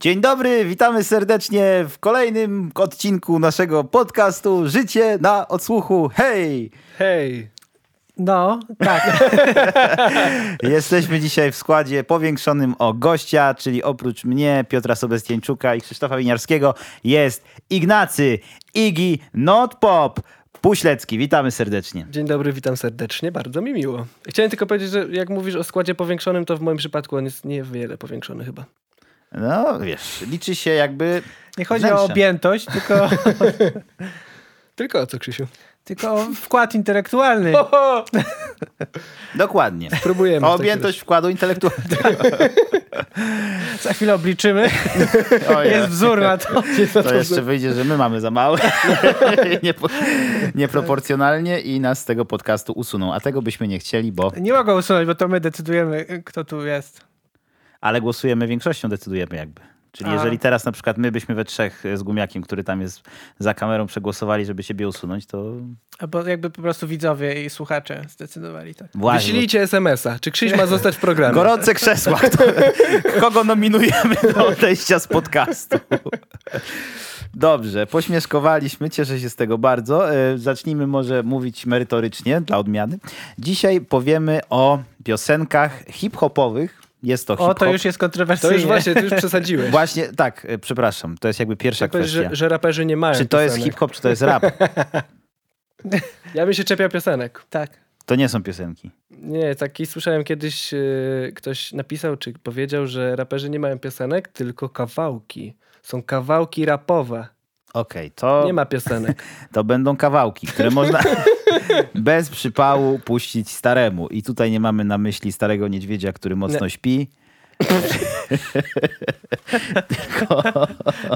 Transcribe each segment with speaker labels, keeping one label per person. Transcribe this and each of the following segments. Speaker 1: Dzień dobry, witamy serdecznie w kolejnym odcinku naszego podcastu Życie na odsłuchu. Hej!
Speaker 2: Hej!
Speaker 3: No, tak.
Speaker 1: Jesteśmy dzisiaj w składzie powiększonym o gościa, czyli oprócz mnie, Piotra Sobestieńczuka i Krzysztofa Winiarskiego jest Ignacy Igi Notpop Puślecki. Witamy serdecznie.
Speaker 2: Dzień dobry, witam serdecznie, bardzo mi miło. Chciałem tylko powiedzieć, że jak mówisz o składzie powiększonym, to w moim przypadku on jest niewiele powiększony chyba.
Speaker 1: No wiesz, liczy się jakby...
Speaker 3: Nie chodzi o
Speaker 1: wnętrze.
Speaker 3: objętość, tylko,
Speaker 2: Tylko o co, Krzysiu?
Speaker 3: tylko o wkład intelektualny.
Speaker 2: Oho!
Speaker 1: Dokładnie.
Speaker 2: Próbujemy.
Speaker 1: O
Speaker 2: w takim
Speaker 1: objętość wkładu intelektualnego.
Speaker 3: Za chwilę obliczymy.
Speaker 1: Ojej.
Speaker 3: Jest wzór na to.
Speaker 1: To jeszcze wyjdzie, że my mamy za małe. Niepo- Nieproporcjonalnie i nas z tego podcastu usuną. A tego byśmy nie chcieli, bo.
Speaker 3: Nie mogę usunąć, bo to my decydujemy, kto tu jest.
Speaker 1: Ale głosujemy większością, decydujemy jakby. Czyli
Speaker 3: A.
Speaker 1: jeżeli teraz na przykład my byśmy we trzech z Gumiakiem, który tam jest za kamerą, przegłosowali, żeby siebie usunąć, to
Speaker 3: Albo jakby po prostu widzowie i słuchacze zdecydowali tak.
Speaker 2: razie.
Speaker 1: właśnie.
Speaker 2: Wyślijcie SMS-a. Czy Krzyś ma zostać w programie?
Speaker 1: Gorące krzesła. Kto, kogo nominujemy do odejścia z podcastu? Dobrze, pośmieszkowaliśmy, cieszę się z tego bardzo. E, Zacznijmy może mówić merytorycznie, dla odmiany. Dzisiaj powiemy o piosenkach hip-hopowych. Jest to hip-hop.
Speaker 3: O, to już jest
Speaker 2: To
Speaker 3: kontrowersyjne.
Speaker 2: już właśnie, ty już przesadziłeś.
Speaker 1: Właśnie, tak, e, przepraszam, to jest jakby pierwsza
Speaker 2: Tak powiesz,
Speaker 1: kwestia.
Speaker 2: że, że raperzy nie mają
Speaker 1: Czy to jest
Speaker 2: piosenek.
Speaker 1: hip-hop, czy to jest rap?
Speaker 2: Ja bym się czepiał piosenek.
Speaker 3: Tak.
Speaker 1: To nie są piosenki.
Speaker 2: Nie, taki słyszałem kiedyś, yy, ktoś napisał czy powiedział, że raperzy nie mają piosenek, tylko kawałki. Są kawałki rapowe.
Speaker 1: Okej, to,
Speaker 2: Nie ma piosenek.
Speaker 1: to będą kawałki, które można bez przypału puścić staremu. I tutaj nie mamy na myśli starego niedźwiedzia, który mocno śpi.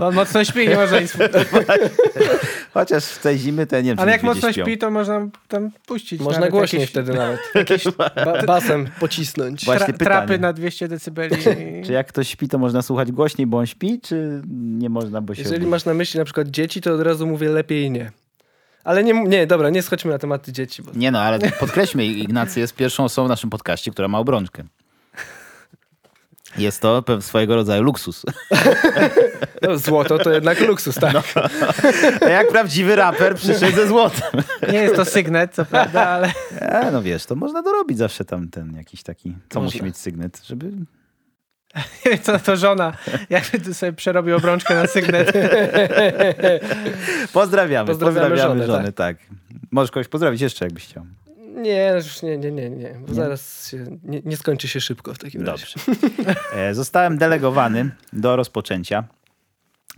Speaker 3: Bo on mocno śpi, nie można nic...
Speaker 1: Chociaż w tej zimy to ja nie wiem, czy
Speaker 3: Ale jak
Speaker 1: niedźwiedzie
Speaker 3: mocno
Speaker 1: śpią.
Speaker 3: śpi, to można tam puścić.
Speaker 2: Można
Speaker 3: nawet
Speaker 2: głośniej
Speaker 3: jakieś
Speaker 2: wtedy nawet. Jakieś ba- basem pocisnąć.
Speaker 1: Właśnie
Speaker 3: tra-
Speaker 1: pytanie.
Speaker 3: trapy na 200 decybeli.
Speaker 1: Czy jak ktoś śpi, to można słuchać głośniej, bo on śpi, czy nie można, bo się
Speaker 2: Jeżeli
Speaker 1: obudzi?
Speaker 2: masz na myśli na przykład dzieci, to od razu mówię lepiej nie. Ale nie, nie dobra, nie schodźmy na tematy dzieci. Bo...
Speaker 1: Nie no, ale podkreślmy, Ignacy jest pierwszą osobą w naszym podcaście, która ma obrączkę. Jest to pew- swojego rodzaju luksus.
Speaker 2: No, złoto to jednak luksus, tak.
Speaker 1: Jak prawdziwy raper przyszedł ze złotem.
Speaker 3: Nie jest to sygnet, co prawda, ale...
Speaker 1: E, no wiesz, to można dorobić zawsze tam ten jakiś taki, co musi
Speaker 2: Można.
Speaker 1: mieć sygnet, żeby...
Speaker 3: Nie wiem, co na to żona. Jakby tu sobie przerobił obrączkę na sygnet.
Speaker 1: Pozdrawiamy, pozdrawiamy,
Speaker 2: Pozdrawiamy
Speaker 1: pozdrawiamy żonę,
Speaker 2: żonę,
Speaker 1: tak. Możesz kogoś pozdrowić jeszcze, jakbyś chciał.
Speaker 2: Nie, już nie, nie, nie, nie. Bo zaraz się, nie, nie skończy się szybko w takim razie.
Speaker 1: Dobrze. E, Zostałem delegowany do rozpoczęcia,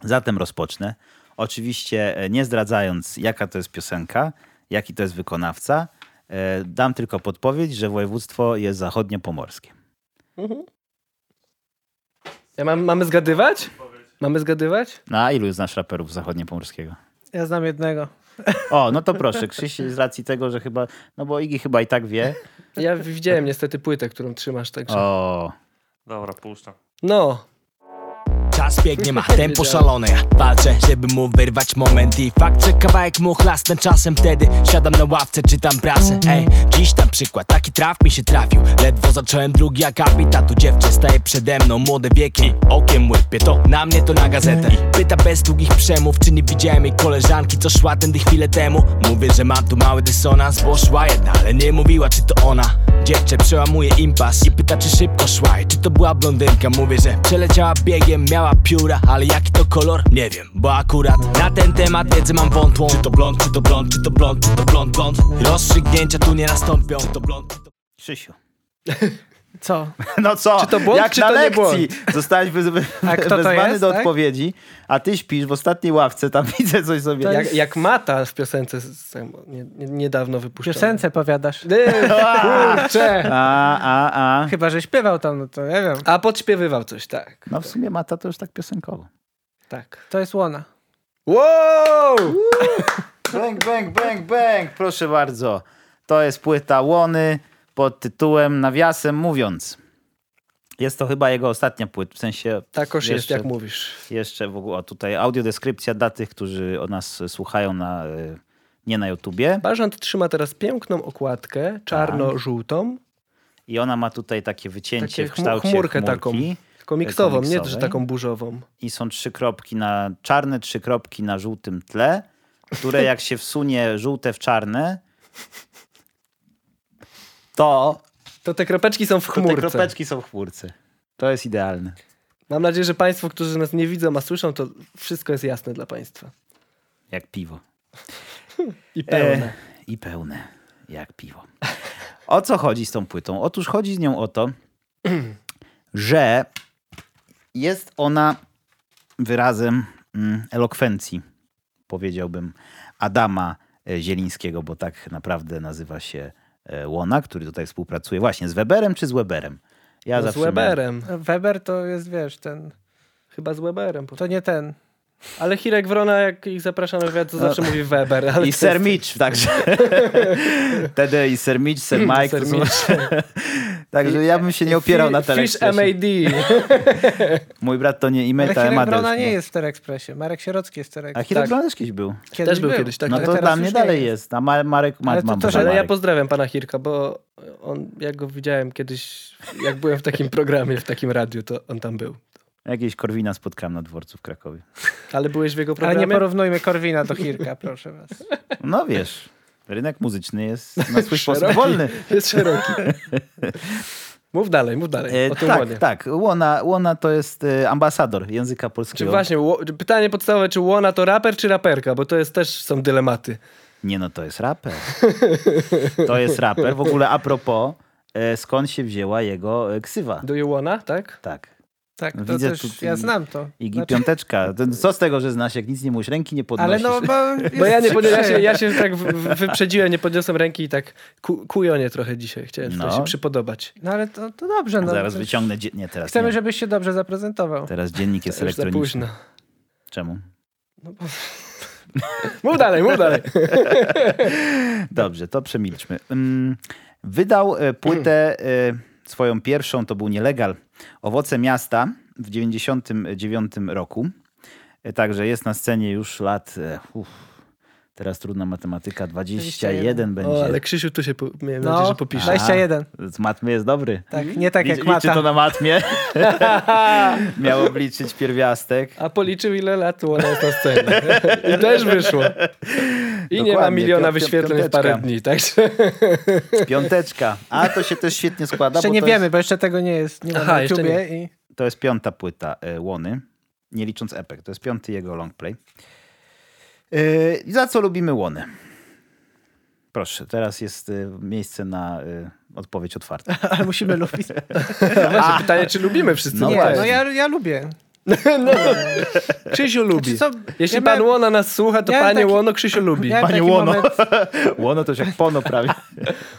Speaker 1: zatem rozpocznę. Oczywiście e, nie zdradzając, jaka to jest piosenka, jaki to jest wykonawca, e, dam tylko podpowiedź, że województwo jest zachodniopomorskie.
Speaker 2: Ja mam, mamy zgadywać? Mamy zgadywać?
Speaker 1: No, a ilu znasz raperów zachodniopomorskiego?
Speaker 3: Ja znam jednego.
Speaker 1: O, no to proszę, Krzyś z racji tego, że chyba, no bo Igi chyba i tak wie.
Speaker 2: Ja widziałem niestety płytę, którą trzymasz, także...
Speaker 1: O,
Speaker 4: Dobra, puszczam.
Speaker 2: No,
Speaker 5: Czas biegnie, ma tempo szalone Ja walczę, żeby mu wyrwać moment I fakt, że kawałek mu chlasnę Czasem wtedy siadam na ławce, czytam prasę Ej, dziś na przykład taki traf mi się trafił Ledwo zacząłem drugi akapit A tu dziewczę staje przede mną Młode wieki, i okiem łypie To na mnie, to na gazetę I pyta bez długich przemów Czy nie widziałem jej koleżanki, co szła tędy chwilę temu Mówię, że mam tu mały dysonans Bo szła jedna, ale nie mówiła, czy to ona Dziewczę przełamuje impas i pyta czy szybko szła i czy to była blondynka Mówię, że przeleciała biegiem, miała pióra, ale jaki to kolor? Nie wiem, bo akurat na ten temat wiedzę mam wątłą Czy to blond, czy to blond, czy to blond, czy to blond, blond Rozstrzygnięcia tu nie nastąpią, czy to blond, czy to...
Speaker 1: Krzysiu.
Speaker 3: Co?
Speaker 1: No co?
Speaker 2: Czy to błąd,
Speaker 1: Jak
Speaker 2: czy
Speaker 1: na
Speaker 2: to nie
Speaker 1: lekcji
Speaker 2: błąd?
Speaker 1: zostałeś wy- wy-
Speaker 3: A kto to
Speaker 1: wezwany
Speaker 3: jest,
Speaker 1: do
Speaker 3: tak?
Speaker 1: odpowiedzi, a ty śpisz w ostatniej ławce, tam widzę coś sobie.
Speaker 3: To
Speaker 2: jak, jak Mata w piosence z- tam, nie, nie, niedawno
Speaker 3: W
Speaker 2: wypuszczona.
Speaker 3: piosence powiadasz.
Speaker 2: Nie, kurczę.
Speaker 1: A, a, a.
Speaker 3: Chyba, że śpiewał tam, no to nie wiem.
Speaker 2: A podśpiewywał coś, tak.
Speaker 1: No w sumie Mata to już tak piosenkowo.
Speaker 2: Tak.
Speaker 3: To jest łona.
Speaker 2: Wow!
Speaker 1: Bęk, bęk, bęk, bęk. Proszę bardzo. To jest płyta Łony pod tytułem Nawiasem mówiąc. Jest to chyba jego ostatnia płyta, w sensie
Speaker 2: Takoż Tak jest,
Speaker 1: Jeszcze-
Speaker 2: jak mówisz.
Speaker 1: Jeszcze w ogóle o, tutaj audiodeskrypcja dla tych, którzy o nas słuchają na, y, nie na YouTubie.
Speaker 2: Barzant trzyma teraz piękną okładkę, czarno-żółtą.
Speaker 1: I ona ma tutaj takie wycięcie
Speaker 2: Takie
Speaker 1: w kształcie
Speaker 2: chmurkę
Speaker 1: chmurki.
Speaker 2: taką. Komiksową, nie
Speaker 1: komiksowej.
Speaker 2: że taką burzową.
Speaker 1: i są trzy kropki na czarne, trzy kropki na żółtym tle, które jak się wsunie żółte w czarne, to
Speaker 2: To te kropeczki są w
Speaker 1: to te
Speaker 2: chmurce.
Speaker 1: kropeczki są w chmurce. To jest idealne.
Speaker 2: Mam nadzieję, że Państwo, którzy nas nie widzą, a słyszą, to wszystko jest jasne dla Państwa.
Speaker 1: Jak piwo.
Speaker 2: I pełne.
Speaker 1: E, I pełne, jak piwo. O co chodzi z tą płytą? Otóż chodzi z nią o to, że jest ona wyrazem mm, elokwencji, powiedziałbym, Adama e, Zielińskiego, bo tak naprawdę nazywa się e, Łona, który tutaj współpracuje właśnie z Weberem czy z Weberem? Ja
Speaker 2: No z
Speaker 1: zawsze mylę.
Speaker 2: Weberem.
Speaker 3: Weber to jest, wiesz, ten...
Speaker 2: Chyba z Weberem. Po...
Speaker 3: To nie ten.
Speaker 2: Ale Hirek Wrona, jak ich zaprasza na wywiad, to zawsze mówi Weber. Ale
Speaker 1: No. I
Speaker 2: to
Speaker 1: Ser
Speaker 2: jest-
Speaker 1: Mitch także. Wtedy i Ser Mitch, Ser Mike.
Speaker 2: Ser
Speaker 1: to są...
Speaker 2: Mitch.
Speaker 1: Także ja bym się nie opierał na
Speaker 2: Fi- Fish
Speaker 1: telekspresie.
Speaker 2: MAD.
Speaker 1: Mój brat to nie
Speaker 3: Ale
Speaker 1: imita, ale
Speaker 3: Hirek
Speaker 1: ma
Speaker 3: Brona
Speaker 1: też,
Speaker 3: nie jest w Terekspresie. Marek Sierocki jest w
Speaker 1: no. A
Speaker 3: Terekspresie.
Speaker 1: Hirek tak. kiedyś był.
Speaker 3: Kiedyś
Speaker 2: Też był kiedyś, tak,
Speaker 1: no
Speaker 3: ale
Speaker 1: to
Speaker 3: teraz
Speaker 1: dla mnie
Speaker 3: już
Speaker 1: dalej
Speaker 3: nie
Speaker 1: jest. A ma, Marek, ma,
Speaker 3: Ale to
Speaker 1: mam
Speaker 3: też-
Speaker 1: brata
Speaker 2: Ale ja
Speaker 1: Marek.
Speaker 2: pozdrawiam pana Hirka, bo on, jak go widziałem kiedyś, jak byłem w takim programie, w takim radiu, to on tam był.
Speaker 1: Jakiegoś Korwina spotkałem na dworcu w Krakowie.
Speaker 2: Ale byłeś w jego
Speaker 3: Ale
Speaker 2: programie?
Speaker 3: nie porównujmy Korwina do Hirka, proszę was.
Speaker 1: No wiesz, rynek muzyczny jest na swój sposób
Speaker 2: Szeroki.
Speaker 1: wolny.
Speaker 2: Jest szeroki. mów dalej, mów dalej.
Speaker 1: E,
Speaker 2: o tym
Speaker 1: tak,
Speaker 2: łonie.
Speaker 1: tak. Łona, Łona to jest e, ambasador języka
Speaker 2: Czy
Speaker 1: polskiego.
Speaker 2: właśnie, ło- czy pytanie podstawowe, czy Łona to raper, czy raperka? Bo to jest też są dylematy.
Speaker 1: Nie no, to jest raper. To jest raper. W ogóle a propos, e, skąd się wzięła jego e, ksywa?
Speaker 2: Do Łona, tak?
Speaker 1: Tak.
Speaker 3: Tak, to
Speaker 1: Widzę
Speaker 3: też,
Speaker 1: tu-
Speaker 3: ja znam to.
Speaker 1: Igi
Speaker 3: Znaczy-
Speaker 1: Piąteczka. To Co z tego, że znasz, jak nic nie mówisz? Ręki nie podnosisz.
Speaker 3: ale no, bo...
Speaker 2: Bo ja, nie podnie- ja, się,
Speaker 3: się
Speaker 2: ja się tak w- w- wyprzedziłem, nie podniosłem ręki i tak ku, kujonie trochę dzisiaj. Chciałem
Speaker 1: No.
Speaker 2: no. się przypodobać.
Speaker 3: No ale to, to dobrze. No.
Speaker 1: Zaraz wyciągnę... Dzie- nie, teraz
Speaker 3: Chcemy,
Speaker 1: nie. Tak.
Speaker 3: żebyś się dobrze zaprezentował.
Speaker 1: Teraz dziennik jest
Speaker 2: To już za
Speaker 1: elektroniczny.
Speaker 2: późno.
Speaker 1: Czemu?
Speaker 2: Mów dalej, mów dalej.
Speaker 1: Dobrze, to przemilczmy. Mm, Wydał e, płytę e, swoją pierwszą, to był nielegal, Owoce Miasta w 99 roku. E, Także jest na scenie już lat, e, uff, teraz trudna matematyka, 21 będzie.
Speaker 2: O, ale Krzysiu tu się, po, miałem
Speaker 3: No,
Speaker 2: nadzieję, że popisze.
Speaker 1: Aha,
Speaker 3: 21.
Speaker 1: Z matmy jest dobry.
Speaker 3: Tak, nie tak jak
Speaker 1: Liczy, liczy
Speaker 3: Mata.
Speaker 1: to na matmie. Miał obliczyć pierwiastek.
Speaker 2: A policzył ile lat Łona jest na scenie. I też wyszło. I nie ma
Speaker 1: Dokładnie,
Speaker 2: miliona
Speaker 1: piąt- piąt-
Speaker 2: wyświetleń w
Speaker 1: piąteczka.
Speaker 2: parę dni, także...
Speaker 1: Piąteczka. A to się też świetnie składa.
Speaker 3: Jeszcze
Speaker 1: bo
Speaker 3: nie
Speaker 1: to
Speaker 3: wiemy, bo jeszcze tego nie jest. Nie ma
Speaker 2: Aha,
Speaker 3: na
Speaker 2: jeszcze
Speaker 3: YouTubie i...
Speaker 1: To jest piąta płyta e, Łony, nie licząc epek. To jest piąty jego longplay. Yy, i za co lubimy Łony? Proszę, teraz jest y, miejsce na y, odpowiedź otwarta.
Speaker 3: Ale musimy lubić.
Speaker 2: Właśnie Znaczy, pytanie, czy lubimy wszyscy?
Speaker 1: No
Speaker 3: nie,
Speaker 1: właśnie.
Speaker 3: no ja, ja lubię.
Speaker 2: Krzysiu lubi.
Speaker 3: Czy Znaczy, co?
Speaker 2: Jeśli
Speaker 3: ja
Speaker 2: pan
Speaker 3: miałem-
Speaker 2: Łona nas słucha, to
Speaker 3: miałem
Speaker 2: panie
Speaker 3: taki-
Speaker 2: Łono Krzysiu lubi.
Speaker 3: miałem
Speaker 1: Panie
Speaker 3: taki
Speaker 1: Łono.
Speaker 3: moment-
Speaker 1: Łono to się jak pono prawie.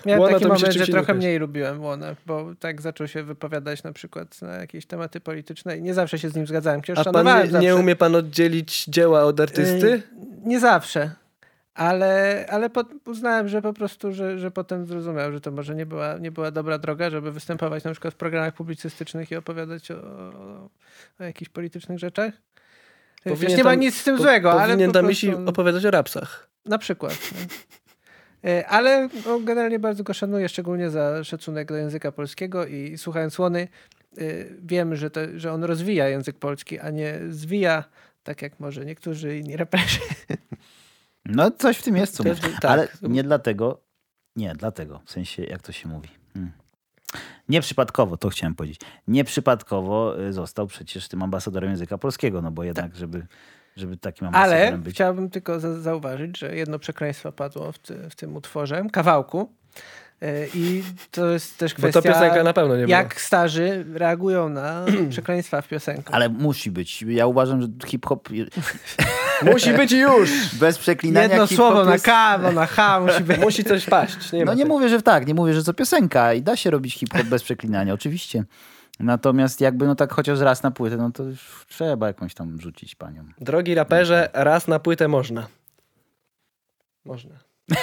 Speaker 3: Miałem
Speaker 2: Łona
Speaker 3: taki
Speaker 2: to mi się
Speaker 3: moment, że
Speaker 2: rzeczywiście
Speaker 3: trochę
Speaker 2: dokończy.
Speaker 3: mniej lubiłem Łona, bo tak zaczął się wypowiadać na przykład na jakieś tematy polityczne i nie zawsze się z nim zgadzałem. Chociaż
Speaker 2: A pan
Speaker 3: szanowałem
Speaker 2: nie, nie
Speaker 3: zawsze.
Speaker 2: umie pan oddzielić dzieła od artysty?
Speaker 3: Y, Nie zawsze. Ale, ale pod, uznałem, że po prostu, że, że potem zrozumiał, że to może nie była, nie była dobra droga, żeby występować na przykład w programach publicystycznych i opowiadać o, o, o jakichś politycznych rzeczach. Powinien
Speaker 2: Powinien
Speaker 3: nie ma
Speaker 2: tam-
Speaker 3: nic z tym
Speaker 2: po-
Speaker 3: złego, ale
Speaker 2: Powinien
Speaker 3: po
Speaker 2: tam
Speaker 3: prostu,
Speaker 2: iść i opowiadać o rapsach.
Speaker 3: na przykład. no. Y, Ale no, generalnie bardzo go szanuję, szczególnie za szacunek do języka polskiego i, i słuchając Łony y, wiem, że, to, że on rozwija język polski, a nie zwija, tak jak może niektórzy inni raperzy.
Speaker 1: No coś w tym jest, co
Speaker 2: To-
Speaker 1: mówię.
Speaker 2: tak.
Speaker 1: Ale nie dlatego, nie dlatego, w sensie jak to się mówi. Hmm. Nieprzypadkowo, to chciałem powiedzieć. Nieprzypadkowo y, został przecież tym ambasadorem języka polskiego, no bo jednak, żeby, żeby takim ambasadorem
Speaker 3: Ale
Speaker 1: być.
Speaker 3: chciałbym tylko za- zauważyć, że jedno przekleństwo padło w, ty, w tym utworze, kawałku. E, I to jest też
Speaker 2: Bo to
Speaker 3: kwestia,
Speaker 2: piosenka na pewno nie była.
Speaker 3: jak starzy reagują na przekleństwa w piosenkach.
Speaker 1: Ale musi być. Ja uważam, że hip-hop
Speaker 2: Musi być i już!
Speaker 1: bez przeklinania
Speaker 3: Jedno
Speaker 1: hip-hop
Speaker 3: słowo na
Speaker 1: jest...
Speaker 3: K, no na H musi być.
Speaker 2: Musi coś paść. Nie
Speaker 1: No
Speaker 2: ma
Speaker 1: nie
Speaker 2: tak.
Speaker 1: mówię, że tak, nie mówię, że co piosenka i da się robić hip-hop bez przeklinania, oczywiście. Natomiast jakby no tak chociaż raz na płytę, no to już trzeba jakąś tam rzucić panią.
Speaker 2: Drogi raperze, raz na płytę można. Można.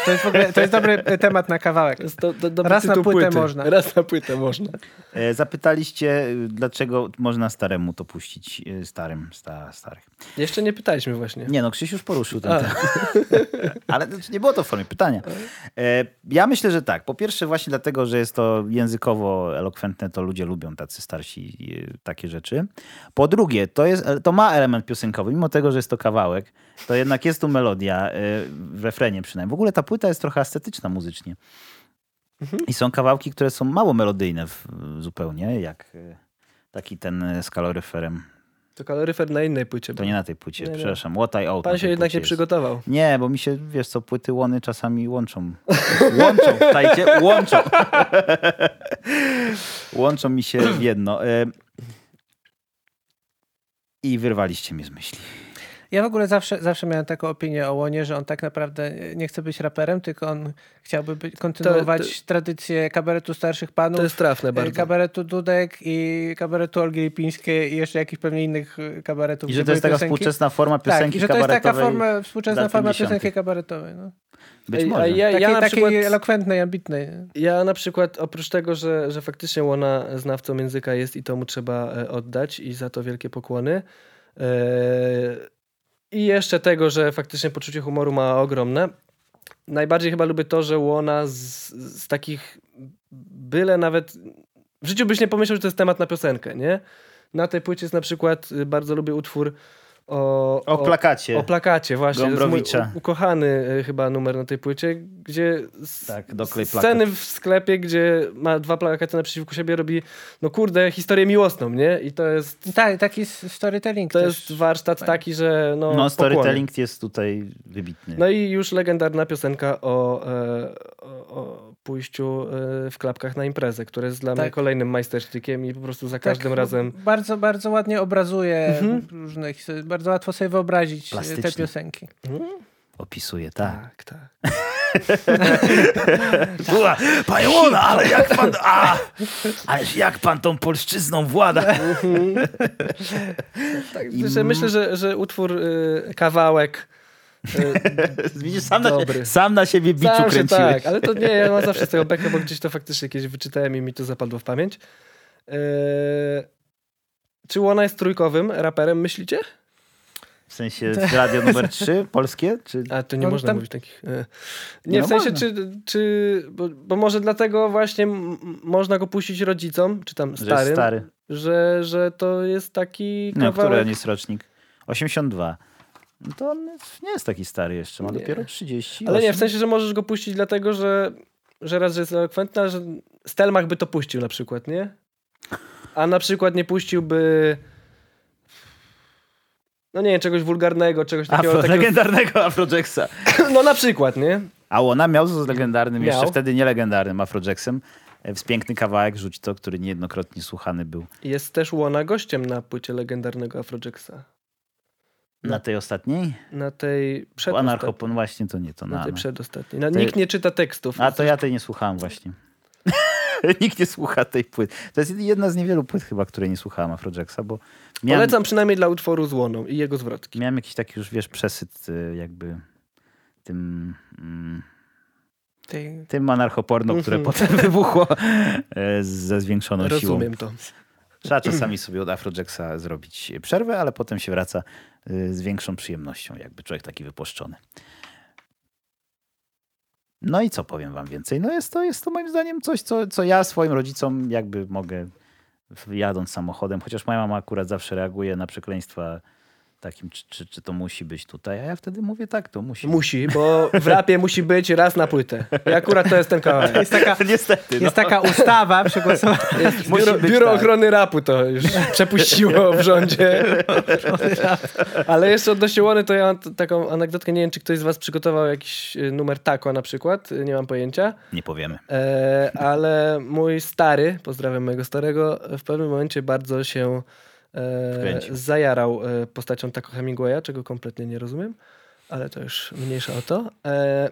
Speaker 3: To jest, w ogóle, to jest dobry e, temat na kawałek.
Speaker 2: To jest do, do, dobry
Speaker 3: Raz na
Speaker 2: tytuł
Speaker 3: płytę
Speaker 2: płyty.
Speaker 3: można.
Speaker 2: Raz na płytę można.
Speaker 1: E, Zapytaliście, y, dlaczego można staremu to puścić, y, starym, sta, starych.
Speaker 2: Jeszcze nie pytaliśmy właśnie.
Speaker 1: Nie no, Krzyś już poruszył ten
Speaker 2: A.
Speaker 1: temat. Ale to nie było to w formie pytania. E, Ja myślę, że tak. Po pierwsze właśnie dlatego, że jest to językowo elokwentne, to ludzie lubią tacy starsi e, takie rzeczy. Po drugie, to, jest, to ma element piosenkowy, mimo tego, że jest to kawałek, to jednak jest tu melodia, e, w refrenie przynajmniej. W ogóle ta płyta jest trochę estetyczna muzycznie.
Speaker 2: Mhm.
Speaker 1: I są kawałki, które są mało melodyjne w, zupełnie, jak e, taki ten e, z kaloryferem.
Speaker 2: To kaloryfer na innej płycie.
Speaker 1: To
Speaker 2: był.
Speaker 1: nie na tej płycie,
Speaker 2: Nie, nie.
Speaker 1: przepraszam. What I Out. na
Speaker 2: Pan się
Speaker 1: tej
Speaker 2: jednak
Speaker 1: płycie
Speaker 2: nie
Speaker 1: jest.
Speaker 2: przygotował.
Speaker 1: Nie, bo mi się, wiesz co, płyty łony czasami łączą. Łączą, czajcie, łączą. łączą mi się w jedno. E, I wyrwaliście mnie z myśli.
Speaker 3: Ja w ogóle zawsze, zawsze miałem taką opinię o Łonie, że on tak naprawdę nie chce być raperem, tylko on chciałby być, kontynuować tradycję kabaretu starszych panów,
Speaker 2: To jest trafne
Speaker 3: e,
Speaker 2: bardzo.
Speaker 3: kabaretu Dudek i kabaretu Olgi Lipińskiej i jeszcze jakichś pewnie innych e, kabaretów.
Speaker 1: I
Speaker 3: gdzie
Speaker 1: że to jest
Speaker 3: były
Speaker 1: taka
Speaker 3: piosenki.
Speaker 1: współczesna forma
Speaker 3: tak,
Speaker 1: piosenki
Speaker 3: i że to jest taka
Speaker 1: kabaretowej.
Speaker 3: forma, współczesna
Speaker 1: lat
Speaker 3: forma
Speaker 1: 50..
Speaker 3: piosenki kabaretowej. No.
Speaker 1: Być
Speaker 2: Ej,
Speaker 1: może.
Speaker 2: A Eh, ja,
Speaker 3: Takiej,
Speaker 2: ja na
Speaker 3: takiej
Speaker 2: przykład...
Speaker 3: elokwentnej, ambitnej. nie?
Speaker 2: Ja na przykład, oprócz tego, że, że faktycznie Łona znawcą języka jest i to mu trzeba e, oddać i za to wielkie pokłony. E, I jeszcze tego, że faktycznie poczucie humoru ma ogromne. Najbardziej chyba lubię to, że Łona z, z takich byle nawet... W życiu byś nie pomyślał, że to jest temat na piosenkę, nie? Na tej płycie jest na przykład, y, bardzo lubię utwór o...
Speaker 1: O plakacie.
Speaker 2: O plakacie, właśnie. To jest mój
Speaker 1: Gombrowicza.
Speaker 2: u- ukochany y, chyba numer na tej płycie, gdzie s-
Speaker 1: Tak, doklej
Speaker 2: sceny w sklepie, gdzie ma dwa plakaty naprzeciwko siebie, robi, no kurde, historię miłosną, nie? I to jest,
Speaker 3: Tak, taki s- storytelling
Speaker 2: to
Speaker 3: też.
Speaker 2: jest warsztat taki, że no...
Speaker 1: no,
Speaker 2: pokłony.
Speaker 1: storytelling jest tutaj wybitny.
Speaker 2: No i już legendarna piosenka o, e, o, o pójściu e, w klapkach na imprezę, które jest dla mnie
Speaker 3: Tak.
Speaker 2: kolejnym majstersztykiem i po prostu za każdym
Speaker 3: Tak,
Speaker 2: razem... Mhm.
Speaker 3: Bardzo, bardzo ładnie obrazuje różne historie. Bardzo łatwo sobie wyobrazić e, te
Speaker 1: Plastycznie.
Speaker 3: piosenki.
Speaker 1: Opisuje, tak.
Speaker 2: Tak, tak.
Speaker 3: Tak.
Speaker 1: Ua, Panie Łona, ale jak pan... A, ależ jak pan tą polszczyzną włada?
Speaker 2: tak że myślę, że, że utwór y, kawałek y,
Speaker 1: Widzisz, sam, na,
Speaker 2: Dobry.
Speaker 1: sam na siebie biczu
Speaker 2: Sam się
Speaker 1: kręciłeś.
Speaker 2: Tak, ale to nie, ja mam zawsze z tego bekę, bo gdzieś to faktycznie kiedyś wyczytałem i mi to zapadło w pamięć. Eee, czy Łona jest trójkowym raperem, myślicie?
Speaker 1: W sensie radio numer 3 polskie? Czy...
Speaker 2: A, to nie
Speaker 3: No,
Speaker 2: można
Speaker 3: tam-
Speaker 2: mówić takich... e. Nie,
Speaker 1: Nie, no
Speaker 2: w sensie,
Speaker 1: można.
Speaker 2: czy... czy bo, bo może dlatego właśnie m- m- można go puścić rodzicom, czy tam
Speaker 1: Że jest
Speaker 2: starym, że,
Speaker 1: stary.
Speaker 2: Że, to jest taki
Speaker 1: No, który
Speaker 2: kawałek...
Speaker 1: on jest rocznik? 82. No to on jest- nie jest taki stary jeszcze, ma
Speaker 2: Nie.
Speaker 1: dopiero 30.
Speaker 2: Ale nie, w
Speaker 1: osiem.
Speaker 2: sensie, że możesz go puścić dlatego, że, że raz, że jest elokwentny, ale że Stelmach by to puścił na przykład, nie? A na przykład nie puściłby no nie wiem, czegoś wulgarnego, czegoś takiego.
Speaker 1: Afro,
Speaker 2: takiego
Speaker 1: legendarnego Afro Jacksa.
Speaker 2: no na przykład, nie?
Speaker 1: A ona miał z legendarnym,
Speaker 2: Miał.
Speaker 1: jeszcze wtedy nielegendarnym Afro Jacksem. e, w piękny kawałek Rzuć to, który niejednokrotnie słuchany był
Speaker 2: Jest też Łona gościem na płycie legendarnego Afrojacksa. No.
Speaker 1: na tej ostatniej.
Speaker 2: Na tej
Speaker 1: Bo
Speaker 2: przedostatniej.
Speaker 1: Anarchopon właśnie to nie, to na.
Speaker 2: Na tej
Speaker 1: no.
Speaker 2: przedostatniej. Na,
Speaker 1: Ty-
Speaker 2: nikt nie czyta tekstów.
Speaker 1: A to ja tej nie słuchałem właśnie. Nikt nie słucha tej płyty. To jest jedna z niewielu płyt chyba, której nie słuchałem Afro Jacksa, bo miałem,
Speaker 2: Polecam przynajmniej dla utworu z Łoną i jego zwrotki.
Speaker 1: Miałem jakiś taki już, wiesz, przesyt y, jakby tym, mm,
Speaker 3: Tej-
Speaker 1: tym anarchoporno, które
Speaker 2: Mhm.
Speaker 1: potem wybuchło y, ze zwiększoną siłą.
Speaker 2: Rozumiem to.
Speaker 1: Trzeba czasami sobie od Afrojacksa zrobić przerwę, ale potem się wraca y, z większą przyjemnością, jakby człowiek taki wypuszczony. No i co powiem wam więcej? No jest to, jest to moim zdaniem coś, co, co ja swoim rodzicom jakby mogę w- jadąc samochodem, chociaż moja mama akurat zawsze reaguje na przekleństwa takim, czy, czy, czy to musi być tutaj, a ja wtedy mówię tak, to musi.
Speaker 2: Musi, bo w rapie musi być raz na płytę. I akurat to jest ten kawałek.
Speaker 3: Jest taka,
Speaker 1: Niestety. no.
Speaker 3: jest taka ustawa przegłosowana.
Speaker 1: Musi
Speaker 2: Biuro,
Speaker 1: być
Speaker 2: biuro
Speaker 1: tak.
Speaker 2: Ochrony Rapu to już przepuściło w rządzie. Ale jeszcze odnośnie Łony, to ja mam t- taką anegdotkę. Nie wiem, czy ktoś z was przygotował jakiś y, numer tako na przykład. y, Nie mam pojęcia.
Speaker 1: Nie powiemy.
Speaker 2: E, ale mój stary, pozdrawiam mojego starego, w pewnym momencie bardzo się e,
Speaker 1: Wkręcił.
Speaker 2: zajarał e, postacią Taco Hemingwaya, czego kompletnie nie rozumiem, ale to już mniejsza o to. E,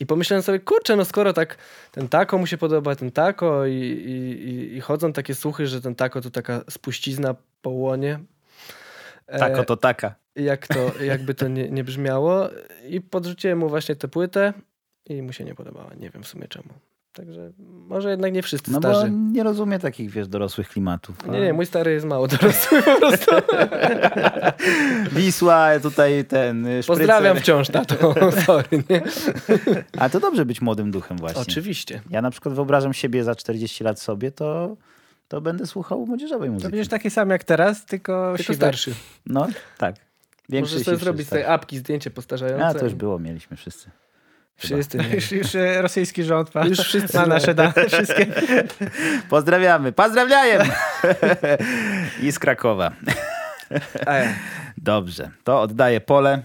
Speaker 2: I pomyślałem sobie, kurczę, no skoro tak ten Taco mu się podoba, ten Taco i, i, i, i chodzą takie słuchy, że ten Taco to taka spuścizna po łonie. E,
Speaker 1: Tako to taka.
Speaker 2: jak to, jakby to nie, nie brzmiało. I podrzuciłem mu właśnie tę płytę i mu się nie podobała. Nie wiem w sumie czemu. Także może jednak nie wszyscy
Speaker 1: No bo
Speaker 2: starzy.
Speaker 1: nie rozumie takich, wiesz, dorosłych klimatów.
Speaker 2: Nie, nie, mój stary jest mało dorosły po prostu.
Speaker 1: Wisła, tutaj ten y, szprycer.
Speaker 2: Pozdrawiam wciąż, tato. Sorry, nie?
Speaker 1: A to dobrze być młodym duchem właśnie.
Speaker 2: Oczywiście.
Speaker 1: Ja na przykład wyobrażam siebie za 40 lat sobie, to, to będę słuchał młodzieżowej
Speaker 3: To
Speaker 1: muzyki.
Speaker 3: będziesz taki sam jak teraz, tylko,
Speaker 2: Tylko
Speaker 3: siwy.
Speaker 2: starszy.
Speaker 1: No, tak. Większy
Speaker 2: Możesz sobie
Speaker 1: siwszy
Speaker 2: zrobić z tej
Speaker 1: starszy.
Speaker 2: apki zdjęcie postarzające.
Speaker 1: A, to już było, mieliśmy wszyscy.
Speaker 2: Wszyscy. nie.
Speaker 3: Już, już e, rosyjski rząd ma,
Speaker 2: Już wszyscy
Speaker 3: ma
Speaker 2: mają.
Speaker 3: nasze dane wszystkie.
Speaker 1: Pozdrawiamy. Pozdrawiajem! I z Krakowa.
Speaker 2: E,
Speaker 1: Dobrze, to oddaję pole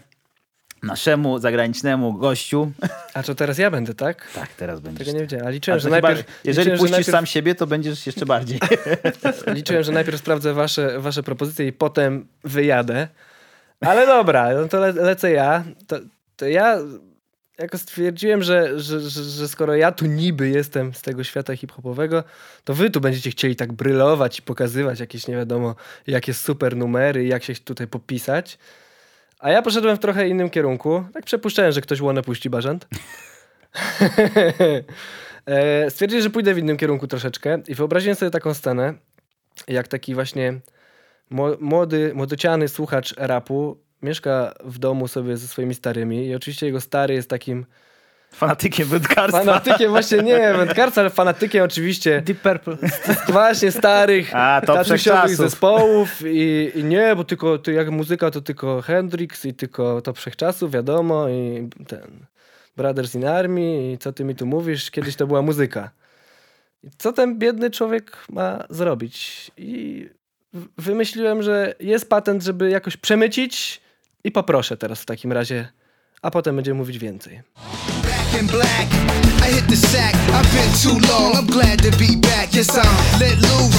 Speaker 1: naszemu zagranicznemu gościu.
Speaker 2: A to teraz ja będę, tak?
Speaker 1: Tak, teraz będziesz.
Speaker 2: Tego nie wiedziałem. A
Speaker 1: A
Speaker 2: liczyłem,
Speaker 1: to
Speaker 2: że
Speaker 1: chyba,
Speaker 2: najpierw.
Speaker 1: jeżeli
Speaker 2: liczyłem,
Speaker 1: puścisz
Speaker 2: że najpierw,
Speaker 1: sam siebie, to będziesz jeszcze bardziej.
Speaker 2: Liczyłem, że najpierw sprawdzę wasze, wasze propozycje i potem wyjadę. Ale dobra, no to le, lecę ja. To, to ja jako stwierdziłem, że, że, że, że skoro ja tu niby jestem z tego świata hip-hopowego, to wy tu będziecie chcieli tak brylować i pokazywać jakieś nie wiadomo jakie super numery, jak się tutaj popisać. A ja poszedłem w trochę innym kierunku. Tak przepuszczałem, że ktoś łonę puści bażant. E, Stwierdziłem, że pójdę w innym kierunku troszeczkę i wyobraziłem sobie taką scenę, jak taki właśnie mło- młody, młodociany słuchacz rapu mieszka w domu sobie ze swoimi starymi i oczywiście jego stary jest takim
Speaker 1: Fanatykiem wędkarstwa.
Speaker 2: fanatykiem, właśnie nie wędkarca, ale fanatykiem oczywiście
Speaker 3: Deep Purple.
Speaker 2: właśnie starych,
Speaker 1: A, to
Speaker 2: tatusiowych
Speaker 1: wszechczasów.
Speaker 2: zespołów i, i nie, bo tylko ty, jak muzyka to tylko Hendrix i tylko to wszechczasów, wiadomo i ten Brothers in Army i co ty mi tu mówisz, kiedyś to była muzyka. I Co ten biedny człowiek ma zrobić? I w- wymyśliłem, że jest patent, żeby jakoś przemycić i poproszę teraz w takim razie, a potem będziemy mówić więcej.
Speaker 4: black and black. I hit the sack. I've been too long. I'm glad to be back. Yes, I'm let loose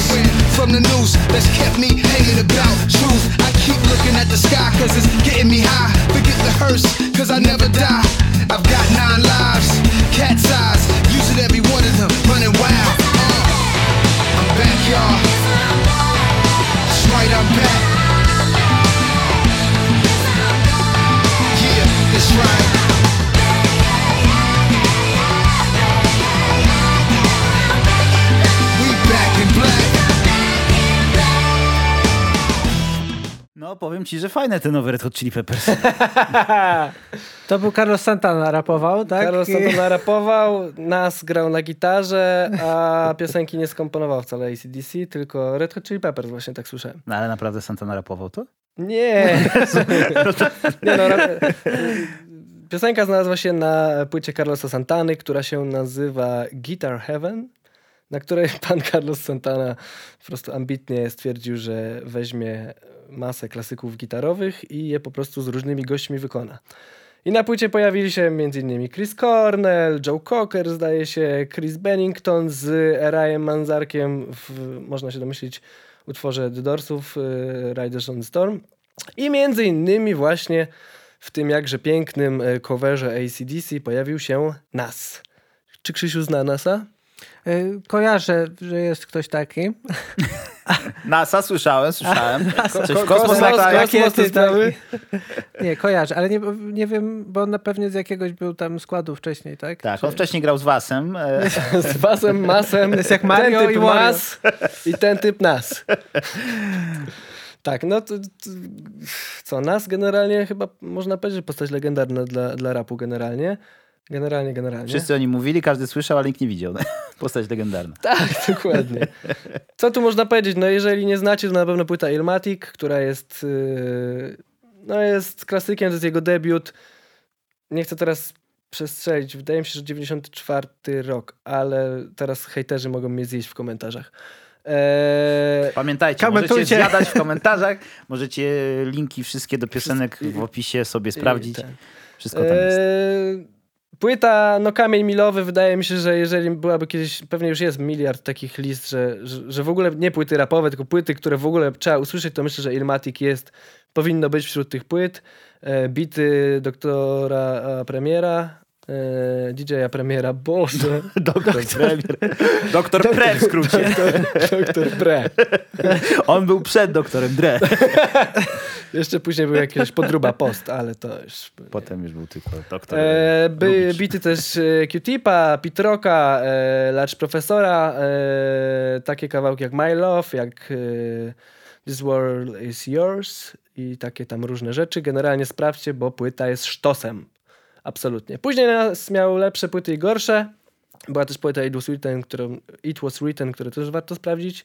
Speaker 4: from the noose that's kept me hanging about. Truth, I keep looking at the sky cause it's getting me high. Forget the hearse cause I never die. I've got nine lives, cat's eyes, using every one of them, running wild. Uh, I'm back, y'all. That's right, I'm back. Yeah, that's right. We back in black.
Speaker 1: No, powiem ci, że fajne te nowe Red Hot Chili Peppers.
Speaker 3: To był Carlos Santana rapował, tak?
Speaker 2: Carlos
Speaker 3: I-
Speaker 2: Santana rapował, nas grał na gitarze, a piosenki nie skomponował wcale ACDC, tylko Red Hot Chili Peppers właśnie tak słyszałem.
Speaker 1: No, ale naprawdę Santana rapował to?
Speaker 2: Nie! nie no, rap... Piosenka znalazła się na płycie Carlosa Santany, która się nazywa Guitar Heaven, na której pan Carlos Santana po prostu ambitnie stwierdził, że weźmie masę klasyków gitarowych i je po prostu z różnymi gośćmi wykona. I na płycie pojawili się m.in. Chris Cornell, Joe Cocker, zdaje się, Chris Bennington z Rajem Manzarkiem w, można się domyślić, utworze The Doorsów, y, Riders on the Storm. I między innymi właśnie w tym jakże pięknym y, coverze ACDC pojawił się Nas. Czy Krzysiu zna Nasa?
Speaker 3: Y, Kojarzę, że jest ktoś taki.
Speaker 1: NASA słyszałem, słyszałem. Coś w
Speaker 2: Kosmos,
Speaker 1: kosmos
Speaker 3: Tak,
Speaker 1: latają.
Speaker 2: kosmos. te
Speaker 3: taki-
Speaker 2: sprawy?
Speaker 3: Nie, kojarzę, ale nie, nie wiem, bo on na pewnie z jakiegoś był tam składu wcześniej, tak?
Speaker 1: Tak,
Speaker 3: Czy-
Speaker 1: on wcześniej grał z Wasem. e,
Speaker 2: Z Basem, Masem.
Speaker 3: jest jak Mario
Speaker 2: ten typ
Speaker 3: i Wario.
Speaker 2: Nas i ten typ Nas. Tak, no to, to co, Nas generalnie chyba można powiedzieć, że postać legendarna dla, dla rapu generalnie. Generalnie, generalnie.
Speaker 1: Wszyscy o nim mówili, każdy słyszał, ale nikt nie widział. Postać legendarna.
Speaker 2: Tak, dokładnie. Co tu można powiedzieć? No jeżeli nie znacie, to na pewno płyta Ilmatic, która jest yy, no jest klasykiem, to jest jego debiut. Nie chcę teraz przestrzelić, wydaje mi się, że 94 rok, ale teraz hejterzy mogą mnie zjeść w komentarzach. Eee,
Speaker 1: Pamiętajcie, możecie
Speaker 3: Komentujcie.
Speaker 1: zjadać w komentarzach, możecie linki wszystkie do piosenek w opisie sobie sprawdzić.
Speaker 2: i ten.
Speaker 1: Wszystko tam jest.
Speaker 2: Eee, Płyta, no kamień milowy, wydaje mi się, że jeżeli byłaby kiedyś, pewnie już jest miliard takich list, że, że, że w ogóle nie płyty rapowe, tylko płyty, które w ogóle trzeba usłyszeć, to myślę, że Ilmatic jest, Eee, powinno być wśród tych płyt. E, bity doktora e, premiera, e, DJ-a premiera, Boże,
Speaker 1: Doktor Premier. Doktor Pre w skrócie.
Speaker 2: doktor Pre.
Speaker 1: On był przed doktorem Dre.
Speaker 2: Jeszcze później był jakiś podruba post, ale to już...
Speaker 1: Potem już był tylko doktor.
Speaker 2: E, by,
Speaker 1: Lubicz.
Speaker 2: bity też e, Q-Tipa, Pitroka, e, Lacz Profesora, e, takie kawałki jak My Love, jak e, This World Is Yours i takie tam różne rzeczy. Generalnie sprawdźcie, bo płyta jest sztosem. Absolutnie. Później nas miał lepsze płyty i gorsze. Była też płyta It Was Written, którą, It Was Written, które też warto sprawdzić.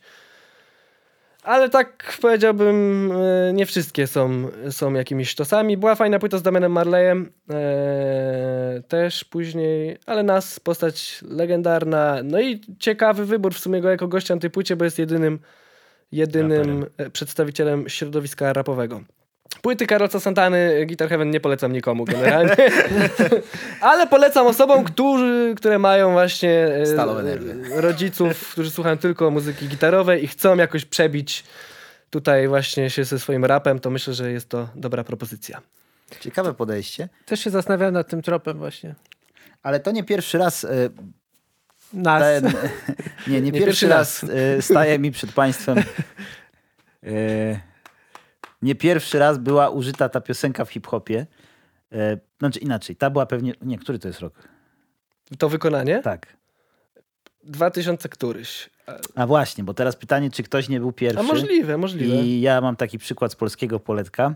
Speaker 2: Ale tak powiedziałbym, e, nie wszystkie są, są jakimiś sztosami. Była fajna płyta z Damianem Marlejem e, też później, ale nas postać legendarna. No i ciekawy wybór w sumie go jako gościa na tej płycie, bo jest jedynym, jedynym e, przedstawicielem środowiska rapowego. Płyty Karolca Santany Guitar Heaven nie polecam nikomu generalnie. Ale polecam osobom, którzy, które mają właśnie e,
Speaker 6: Stalowe nerwy.
Speaker 2: rodziców, którzy słuchają tylko muzyki gitarowej i chcą jakoś przebić tutaj właśnie się ze swoim rapem, to myślę, że jest to dobra propozycja.
Speaker 6: Ciekawe podejście,
Speaker 3: Też się zastanawiałem nad tym tropem właśnie.
Speaker 6: ale to nie pierwszy raz e,
Speaker 3: Nas.
Speaker 6: ten, nie, nie, pierwszy,
Speaker 2: pierwszy
Speaker 6: raz,
Speaker 1: y,
Speaker 6: e, staje mi przed państwem. E,
Speaker 1: Nie pierwszy raz była użyta ta piosenka w hip-hopie. E, Znaczy inaczej, ta była pewnie... Nie, który to jest rok?
Speaker 2: To wykonanie?
Speaker 1: Tak.
Speaker 2: 2000 któryś.
Speaker 1: A właśnie, bo teraz pytanie, czy ktoś nie był pierwszy.
Speaker 2: A możliwe, możliwe.
Speaker 1: I ja mam taki przykład z polskiego poletka.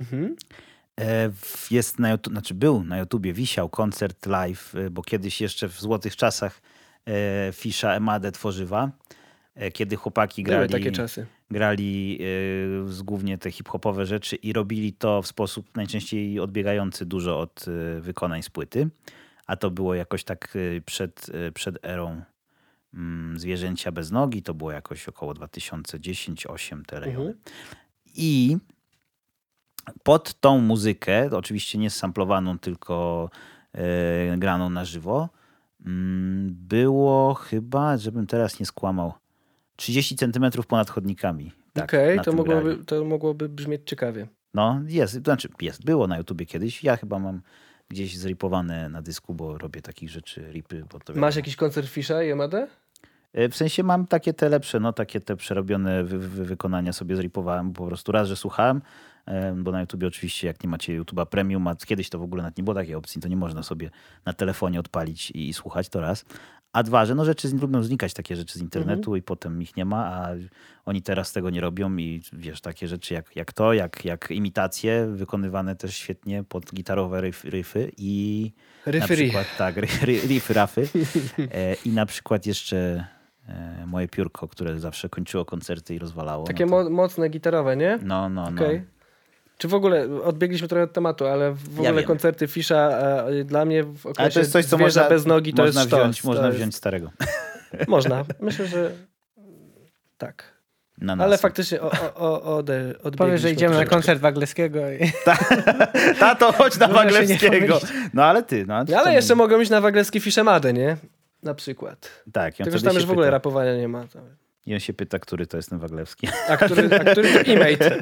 Speaker 2: Mhm.
Speaker 1: E, w- Jest na YouTube, znaczy był na YouTubie, wisiał koncert live, e, bo kiedyś jeszcze w złotych czasach e, Fisza, Emadę, Tworzywa, e, kiedy chłopaki
Speaker 2: Były
Speaker 1: grali,
Speaker 2: takie czasy.
Speaker 1: grali e, z- głównie te hip-hopowe rzeczy i robili to w sposób najczęściej odbiegający dużo od e, wykonań z płyty. A to było jakoś tak e, przed, e, przed erą mm, Zwierzęcia bez nogi, to było jakoś około 2010-2008 te rejony.
Speaker 2: Mhm.
Speaker 1: I pod tą muzykę, oczywiście nie samplowaną, tylko e, graną na żywo, mm, było chyba, żebym teraz nie skłamał, 30 centymetrów ponad chodnikami. Tak,
Speaker 2: Okej,
Speaker 1: na
Speaker 2: to,
Speaker 1: tym
Speaker 2: mogłoby,
Speaker 1: grali.
Speaker 2: to mogłoby brzmieć ciekawie.
Speaker 1: No, jest, to znaczy jest, było na YouTubie kiedyś. Ja chyba mam gdzieś zripowane na dysku, bo robię takich rzeczy, ripy. Bo to
Speaker 2: Masz
Speaker 1: wiadomo.
Speaker 2: jakiś koncert Fisza i Emadę?
Speaker 1: E, W sensie mam takie te lepsze, no takie te przerobione wy, wy, wykonania sobie zripowałem po prostu. Raz, że słuchałem, e, bo na YouTubie oczywiście jak nie macie YouTube'a Premium, a kiedyś to w ogóle nawet nie było takiej opcji, to nie można sobie na telefonie odpalić i, i słuchać, to raz. A dwa, że no rzeczy z- lubią znikać, takie rzeczy z internetu i potem ich nie ma, a oni teraz tego nie robią i wiesz, takie rzeczy jak, jak to, jak, jak imitacje wykonywane też świetnie pod gitarowe ryf, ryfy i... Na
Speaker 2: Referee.
Speaker 1: przykład tak, ry, ry, riff rafy. E, I na przykład jeszcze e, moje piórko, które zawsze kończyło koncerty i rozwalało.
Speaker 2: Takie
Speaker 1: no, to,
Speaker 2: mo- mocne gitarowe, nie?
Speaker 1: no, no, no.
Speaker 2: Okej. Czy w ogóle, odbiegliśmy trochę od tematu, ale w ogóle
Speaker 1: wiem.
Speaker 2: koncerty Fisza e, dla mnie w okresie
Speaker 1: Ale to jest coś, co
Speaker 2: zwierza
Speaker 1: można,
Speaker 2: bez nogi, to
Speaker 1: można
Speaker 2: jest
Speaker 1: wziąć,
Speaker 2: sztos.
Speaker 1: można
Speaker 2: to
Speaker 1: wziąć starego.
Speaker 2: Jest, można. Myślę, że tak.
Speaker 1: Na nas.
Speaker 2: Ale faktycznie o, o, o, ode, odbiegliśmy.
Speaker 3: Powiesz, że idziemy na
Speaker 2: troszeczkę.
Speaker 3: koncert Wagleskiego. I...
Speaker 1: Tato, chodź na
Speaker 3: Można się nie
Speaker 1: Waglewskiego.
Speaker 3: pomylić.
Speaker 1: No ale ty, no.
Speaker 2: No, ale jeszcze mogą iść na wagleski Fiszemadę, nie? Na przykład.
Speaker 1: Tak, i on
Speaker 2: Tylko, że
Speaker 1: wtedy
Speaker 2: tam
Speaker 1: się
Speaker 2: już w ogóle
Speaker 1: pyta,
Speaker 2: rapowania nie ma.
Speaker 1: I on się pyta, który to jest ten Waglewski.
Speaker 2: A który, a który to Primate.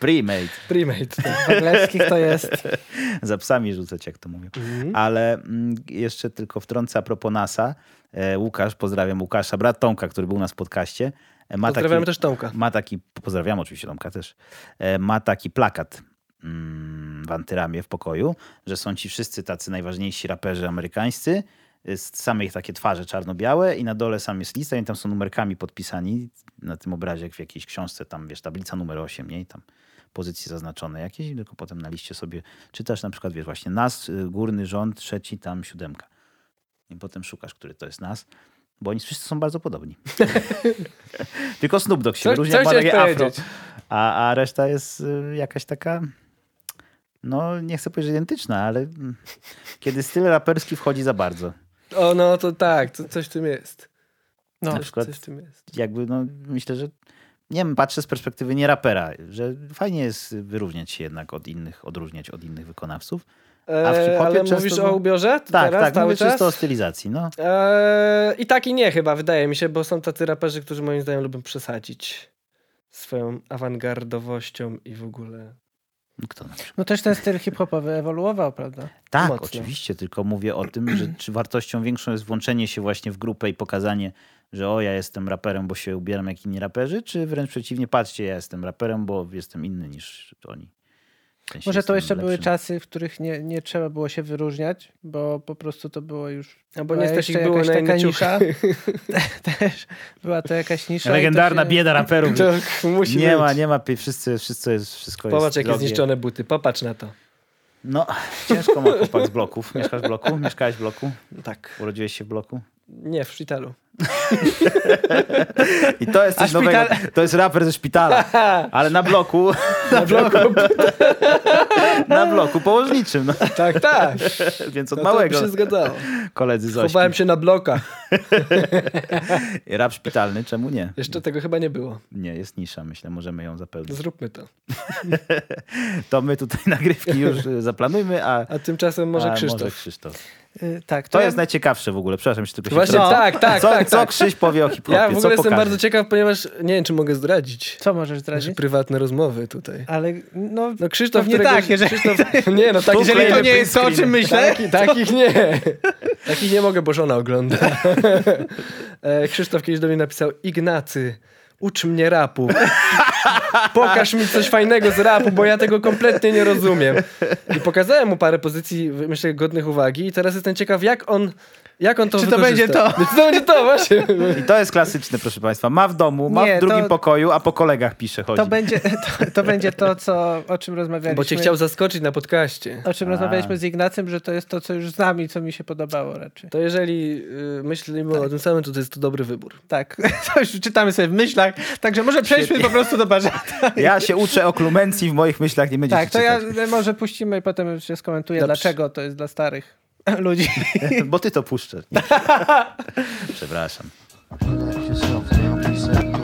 Speaker 1: Primate.
Speaker 2: Primate. tak.
Speaker 3: Wagleckich to jest.
Speaker 1: za psami rzucać, jak to mówią.
Speaker 2: Mhm.
Speaker 1: Ale mm, jeszcze tylko wtrącę a propos NASA. E, Łukasz, pozdrawiam Łukasza, brat Tomka, który był u nas w podcaście. E, Ma
Speaker 2: Pozdrawiamy też Tomka.
Speaker 1: Ma taki, pozdrawiam oczywiście Tomka też. E, Ma taki plakat mm, w antyramie w pokoju, że są ci wszyscy tacy najważniejsi raperzy amerykańscy, e, z same ich takie twarze czarno-białe i na dole sam jest lista i tam są numerkami podpisani na tym obrazie, jak w jakiejś książce, tam wiesz, tablica numer 8, nie? I tam pozycje zaznaczone jakieś, tylko potem na liście sobie czytasz na przykład, wiesz, właśnie nas, y, górny rząd, trzeci, tam siódemka. I potem szukasz, który to jest nas, bo oni wszyscy są bardzo podobni. tylko Snoop Dogg się
Speaker 2: Coś-
Speaker 1: wyróżnia,
Speaker 2: coś
Speaker 1: ma takie
Speaker 2: chciałeś
Speaker 1: afro,
Speaker 2: powiedzieć.
Speaker 1: a, a reszta jest y, jakaś taka, no nie chcę powiedzieć że identyczna, ale mm, kiedy styl raperski wchodzi za bardzo.
Speaker 2: O, no to tak, to, coś w tym jest.
Speaker 3: No.
Speaker 1: Na
Speaker 2: Coś,
Speaker 1: przykład-
Speaker 2: coś w tym jest.
Speaker 1: jakby no, myślę, że nie wiem, patrzę z perspektywy nie rapera, że fajnie jest wyróżniać się jednak od innych, odróżniać od innych wykonawców. A w
Speaker 2: Eee,
Speaker 1: hip-hopie
Speaker 2: ale
Speaker 1: często
Speaker 2: mówisz
Speaker 1: było-
Speaker 2: o ubiorze? To
Speaker 1: Tak,
Speaker 2: teraz,
Speaker 1: tak,
Speaker 2: cały
Speaker 1: mówię
Speaker 2: czas?
Speaker 1: czysto o stylizacji, no.
Speaker 2: Eee, I tak i nie chyba, wydaje mi się, bo są tacy raperzy, którzy moim zdaniem lubią przesadzić swoją awangardowością i w ogóle
Speaker 1: Kto na przykład?
Speaker 3: No też ten styl hip-hopowy ewoluował, prawda?
Speaker 1: Tak,
Speaker 2: Mocno.
Speaker 1: oczywiście, tylko mówię o tym, że czy wartością większą jest włączenie się właśnie w grupę i pokazanie, że o, ja jestem raperem, bo się ubieram jak inni raperzy, czy wręcz przeciwnie, patrzcie, ja jestem raperem, bo jestem inny niż oni. W sensie
Speaker 3: Może to
Speaker 1: jestem
Speaker 3: jeszcze były
Speaker 1: lepszym.
Speaker 3: czasy, w których nie, nie trzeba było się wyróżniać, bo po prostu to było już...
Speaker 2: Albo
Speaker 3: była
Speaker 2: nie stać
Speaker 3: jeszcze
Speaker 2: ich było
Speaker 3: jakaś
Speaker 2: na
Speaker 3: taka
Speaker 2: inne
Speaker 3: nisza.
Speaker 2: ciuchy.
Speaker 3: Też była to jakaś nisza. i to
Speaker 1: Legendarna
Speaker 3: się-
Speaker 1: bieda raperów.
Speaker 2: Tak, musi
Speaker 1: Nie
Speaker 2: być.
Speaker 1: ma, nie ma, pi- wszyscy, wszystko jest, wszystko
Speaker 2: Popatrz,
Speaker 1: jest
Speaker 2: jakie
Speaker 1: drogie.
Speaker 2: zniszczone buty. Popatrz na to.
Speaker 1: No, ciężko ma chłopak z bloków. Mieszkasz w bloku? Mieszkałeś w bloku?
Speaker 2: Tak.
Speaker 1: Urodziłeś się w bloku?
Speaker 2: Nie, w szpitalu.
Speaker 1: I to jest
Speaker 3: A
Speaker 1: coś nowego.
Speaker 3: szpital-
Speaker 1: To jest raper ze szpitala. Ale na bloku,
Speaker 2: Na bloku.
Speaker 1: na bloku położniczym. No,
Speaker 2: tak, tak.
Speaker 1: więc od
Speaker 2: No to by
Speaker 1: małego
Speaker 2: się zgadzało.
Speaker 1: koledzy z
Speaker 2: Chowałem
Speaker 1: ośmiu.
Speaker 2: się na blokach.
Speaker 1: I Rap szpitalny, czemu nie?
Speaker 2: Jeszcze tego chyba nie było.
Speaker 1: Nie, jest nisza, myślę, możemy ją zapełnić.
Speaker 2: Zróbmy to.
Speaker 1: To my tutaj nagrywki już y, zaplanujmy, a,
Speaker 2: A tymczasem może
Speaker 1: a
Speaker 2: Krzysztof.
Speaker 1: Może Krzysztof.
Speaker 3: Y, Tak,
Speaker 1: To jest najciekawsze w ogóle, przepraszam, że tylko się
Speaker 2: Właśnie
Speaker 1: wtrącę.
Speaker 2: tak, tak,
Speaker 1: co,
Speaker 2: tak,
Speaker 1: Co
Speaker 2: tak.
Speaker 1: Krzyś powie o hip-hopie?
Speaker 2: Ja w
Speaker 1: co
Speaker 2: ogóle jestem
Speaker 1: pokaże?
Speaker 2: bardzo ciekaw, ponieważ nie wiem, czy mogę zdradzić
Speaker 3: Co możesz zdradzić?
Speaker 2: nasze prywatne rozmowy tutaj.
Speaker 3: Ale no,
Speaker 2: Znaczy, No Krzysztof,
Speaker 3: Pewnie
Speaker 2: którego-
Speaker 3: tak, jeżeli-
Speaker 2: Krzysztof, nie, no tak,
Speaker 1: Tu
Speaker 2: jeżeli to
Speaker 1: klejmy
Speaker 2: nie
Speaker 1: print
Speaker 2: jest
Speaker 1: screeny.
Speaker 2: myślę. Taki, takich nie. Takich nie mogę, bo żona ogląda. E, Krzysztof kiedyś do mnie napisał, Ignacy, ucz mnie rapu. Pokaż mi coś fajnego z rapu, bo ja tego kompletnie nie rozumiem. I pokazałem mu parę pozycji, myślę, godnych uwagi i teraz jestem ciekaw, jak on, jak on to
Speaker 3: Czy to będzie
Speaker 2: wykorzysta. Czy to będzie to, właśnie.
Speaker 1: I to jest klasyczne, proszę Państwa. Ma w domu, ma
Speaker 3: Nie,
Speaker 1: w drugim
Speaker 3: to-
Speaker 1: pokoju, a po kolegach pisze, chodzi.
Speaker 3: to, będzie, to, to będzie to, co, o czym rozmawialiśmy.
Speaker 2: Bo cię chciał zaskoczyć na podcaście.
Speaker 3: O czym rozmawialiśmy z Ignacym, że to jest to, co już znam i co mi się podobało raczej.
Speaker 2: To jeżeli y, myślimy o tym samym, to to jest to dobry wybór.
Speaker 3: Tak, to już czytamy sobie w myślach, także może przejdźmy po prostu do Barzata.
Speaker 1: Ja się uczę o klumencji, w moich myślach nie będzie
Speaker 3: Tak,
Speaker 1: tak,
Speaker 3: to ja
Speaker 1: czytać,
Speaker 3: może puścimy i potem się skomentuję,
Speaker 2: Dobrze.
Speaker 3: dlaczego to jest dla starych ludzi.
Speaker 1: bo ty to puszczasz. Nie? Przepraszam.
Speaker 7: Relax yourself, now be set to him.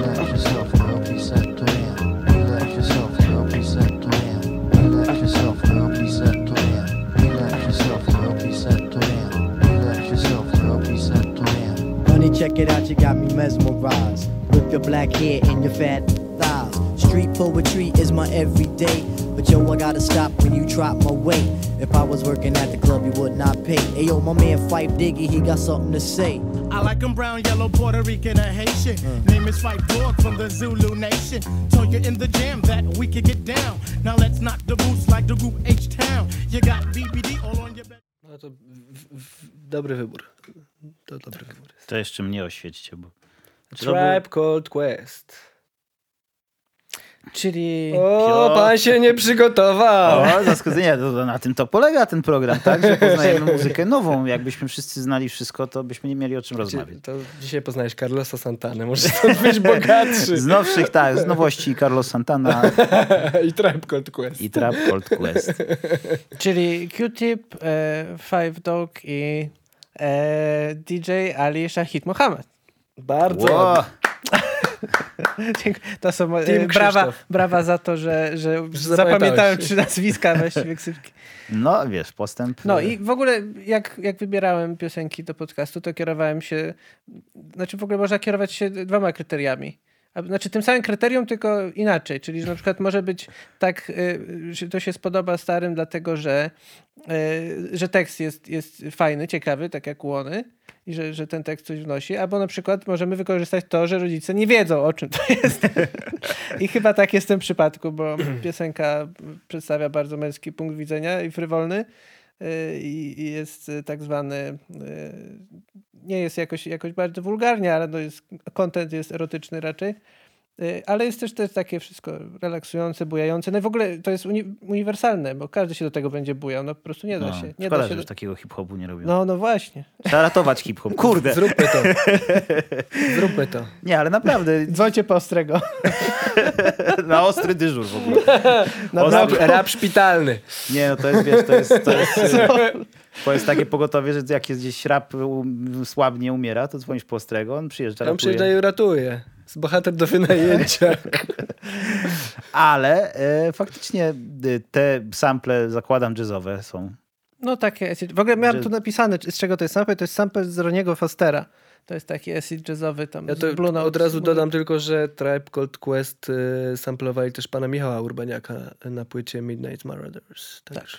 Speaker 7: Relax yourself, now be set to him. Relax yourself, now be set to him. Relax yourself, now be set to him. Relax yourself, now be set to him. Relax yourself, now be set to him.
Speaker 8: Honey, check it out, you got me mesmerized. With your black hair and your fat thighs. Street poetry is my everyday. But yo, I gotta stop when you drop my weight. If I was working at the club, you would not pay. Hey yo, my man Fife Diggy, he got something to say.
Speaker 9: I like 'em brown, yellow, Puerto Rican, and Haitian. Name is Fight Dog from the Zulu Nation. Told you in the jam that we could get down. Now let's knock the boots like the group H Town. You got BBD all on your back.
Speaker 2: No to w, w, dobry wybór. To dobry wybór.
Speaker 1: To jeszcze mnie oświećcie, Tak. Znaczy, no bo... Czy to
Speaker 2: Tribe Cold Quest.
Speaker 3: Czyli
Speaker 2: O, pan się nie przygotował.
Speaker 1: O, zaskoczenie, to- to na tym to polega ten program, tak? Że poznajemy muzykę nową. Jakbyśmy wszyscy znali wszystko, to byśmy nie mieli o czym rozmawiać.
Speaker 2: Dzie- To dzisiaj poznałeś Carlosa Santanę, może stąd być bogatszy.
Speaker 1: Z nowszych, tak, z nowości Carlos Santana
Speaker 2: I Tribe Cold Quest.
Speaker 1: i Trap Cold Quest.
Speaker 3: Czyli Q-Tip, e, Five Dog i e, DJ Ali Shahid Mohammed.
Speaker 2: Bardzo.
Speaker 1: Wow.
Speaker 3: Dziękuję. To są moje-
Speaker 2: Team
Speaker 3: e, brawa,
Speaker 2: Krzysztof.
Speaker 3: brawa za to, że, że
Speaker 2: zapamiętałeś.
Speaker 3: zapamiętałem trzy nazwiska właściwie ksywki.
Speaker 1: No, wiesz, postęp.
Speaker 3: No i w ogóle jak, jak wybierałem piosenki do podcastu, to kierowałem się, znaczy w ogóle można kierować się dwoma kryteriami. A- Znaczy tym samym kryterium, tylko inaczej. Czyli że na przykład może być tak, y, że to się spodoba starym, dlatego że, y, że tekst jest, jest fajny, ciekawy, tak jak łony. I że, że ten tekst coś wnosi, albo na przykład możemy wykorzystać to, że rodzice nie wiedzą o czym to jest. I chyba tak jest w tym przypadku, bo piosenka przedstawia bardzo męski punkt widzenia i frywolny y, i i jest y, tak zwany, y, nie jest jakoś, jakoś bardzo wulgarnie, ale no jest, content jest erotyczny raczej. Y, Ale jest też, też takie wszystko relaksujące, bujające. No i w ogóle to jest uni- uniwersalne, bo każdy się do tego będzie bujał. No po prostu nie da
Speaker 1: No,
Speaker 3: się. Nie
Speaker 1: szkoda,
Speaker 3: da
Speaker 1: że
Speaker 3: się
Speaker 1: już
Speaker 3: do...
Speaker 1: takiego hip-hopu nie robią.
Speaker 3: No, no właśnie.
Speaker 1: Trzeba ratować hip-hop. Kurde.
Speaker 2: Zróbmy to. Zróbmy to.
Speaker 1: Nie, ale naprawdę,
Speaker 3: Dzwoncie po ostrego.
Speaker 1: na ostry dyżur w ogóle.
Speaker 2: Rap,
Speaker 1: Ostry,
Speaker 2: rap szpitalny.
Speaker 1: Nie, no to jest, wiesz, to jest, to jest, to jest takie pogotowie, że jak jest gdzieś rap um, słabnie umiera, to dzwonisz po ostrego, on przyjeżdża,
Speaker 2: Tam
Speaker 1: ratuje.
Speaker 2: przyjeżdża i ratuje. Z bohater do wynajęcia.
Speaker 3: y,
Speaker 1: Ale e, faktycznie e, te sample, zakładam, jazzowe są.
Speaker 3: No takie acid. W ogóle miałem tu napisane, z czego to jest sample. To jest sample z Roniego Fostera. To jest taki acid jazzowy tam.
Speaker 2: Ja
Speaker 3: z
Speaker 2: to
Speaker 3: Blue Note,
Speaker 2: od razu
Speaker 3: z Blue
Speaker 2: dodam tylko, że Tribe Called Quest y, samplowali też pana Michała Urbaniaka na płycie Midnight Marauders. Tak.
Speaker 3: Tak.
Speaker 2: Także.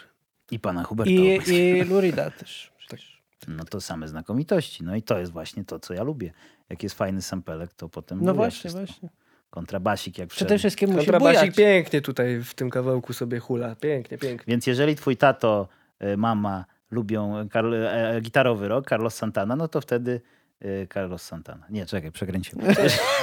Speaker 1: I pana Huberta.
Speaker 3: I, i Lurida też. przecież.
Speaker 1: No to same znakomitości. No i to jest właśnie to, co ja lubię. Jak jest fajny sampelek, to potem
Speaker 3: No
Speaker 1: buja
Speaker 3: właśnie,
Speaker 1: wszystko.
Speaker 3: właśnie.
Speaker 1: Kontrabasik jak
Speaker 3: Przede
Speaker 1: wszędzie.
Speaker 3: wszystkim musi bujać.
Speaker 2: Kontrabasik pięknie tutaj w tym kawałku sobie hula. Pięknie, pięknie.
Speaker 1: Więc jeżeli twój tato, y, mama lubią Karl, e, gitarowy rok, Carlos Santana, no to wtedy y, Carlos Santana. Nie, czekaj, przekręciłem.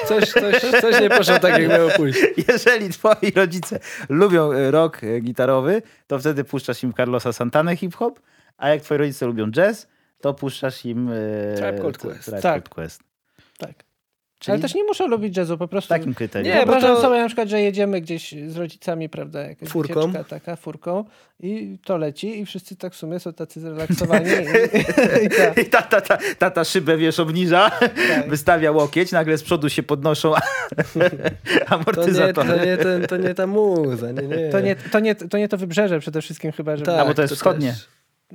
Speaker 2: Coś, coś, coś nie poszło tak, jak miało pójść.
Speaker 1: Jeżeli twoi rodzice lubią y, rock y, gitarowy, to wtedy puszczasz im Carlosa Santanę hip-hop, a jak twoi rodzice lubią jazz, to puszczasz im... y,
Speaker 2: Tribe Called
Speaker 1: t-
Speaker 2: Quest.
Speaker 1: Tribe
Speaker 3: Tak.
Speaker 1: Called Quest.
Speaker 3: Tak.
Speaker 1: Czyli
Speaker 3: Ale też nie muszę lubić jazzu, po prostu.
Speaker 1: takim kryterium.
Speaker 2: Nie, bo
Speaker 3: Wyobrażam
Speaker 2: to-
Speaker 3: sobie na przykład, że jedziemy gdzieś z rodzicami, prawda, jakaś
Speaker 2: Furką.
Speaker 3: wycieczka taka, furką i to leci i wszyscy tak w sumie są tacy zrelaksowani. i, i, i tak.
Speaker 1: I tata, tata, tata szybę, wiesz, obniża, wystawia łokieć, nagle z przodu się podnoszą
Speaker 2: To nie,
Speaker 1: amortyzatory.
Speaker 2: to, nie ten, to nie ta muza, nie, nie. Tak,
Speaker 3: To, nie, to, nie, to nie to wybrzeże przede wszystkim chyba, że...
Speaker 1: A, bo to jest wschodnie.
Speaker 2: też.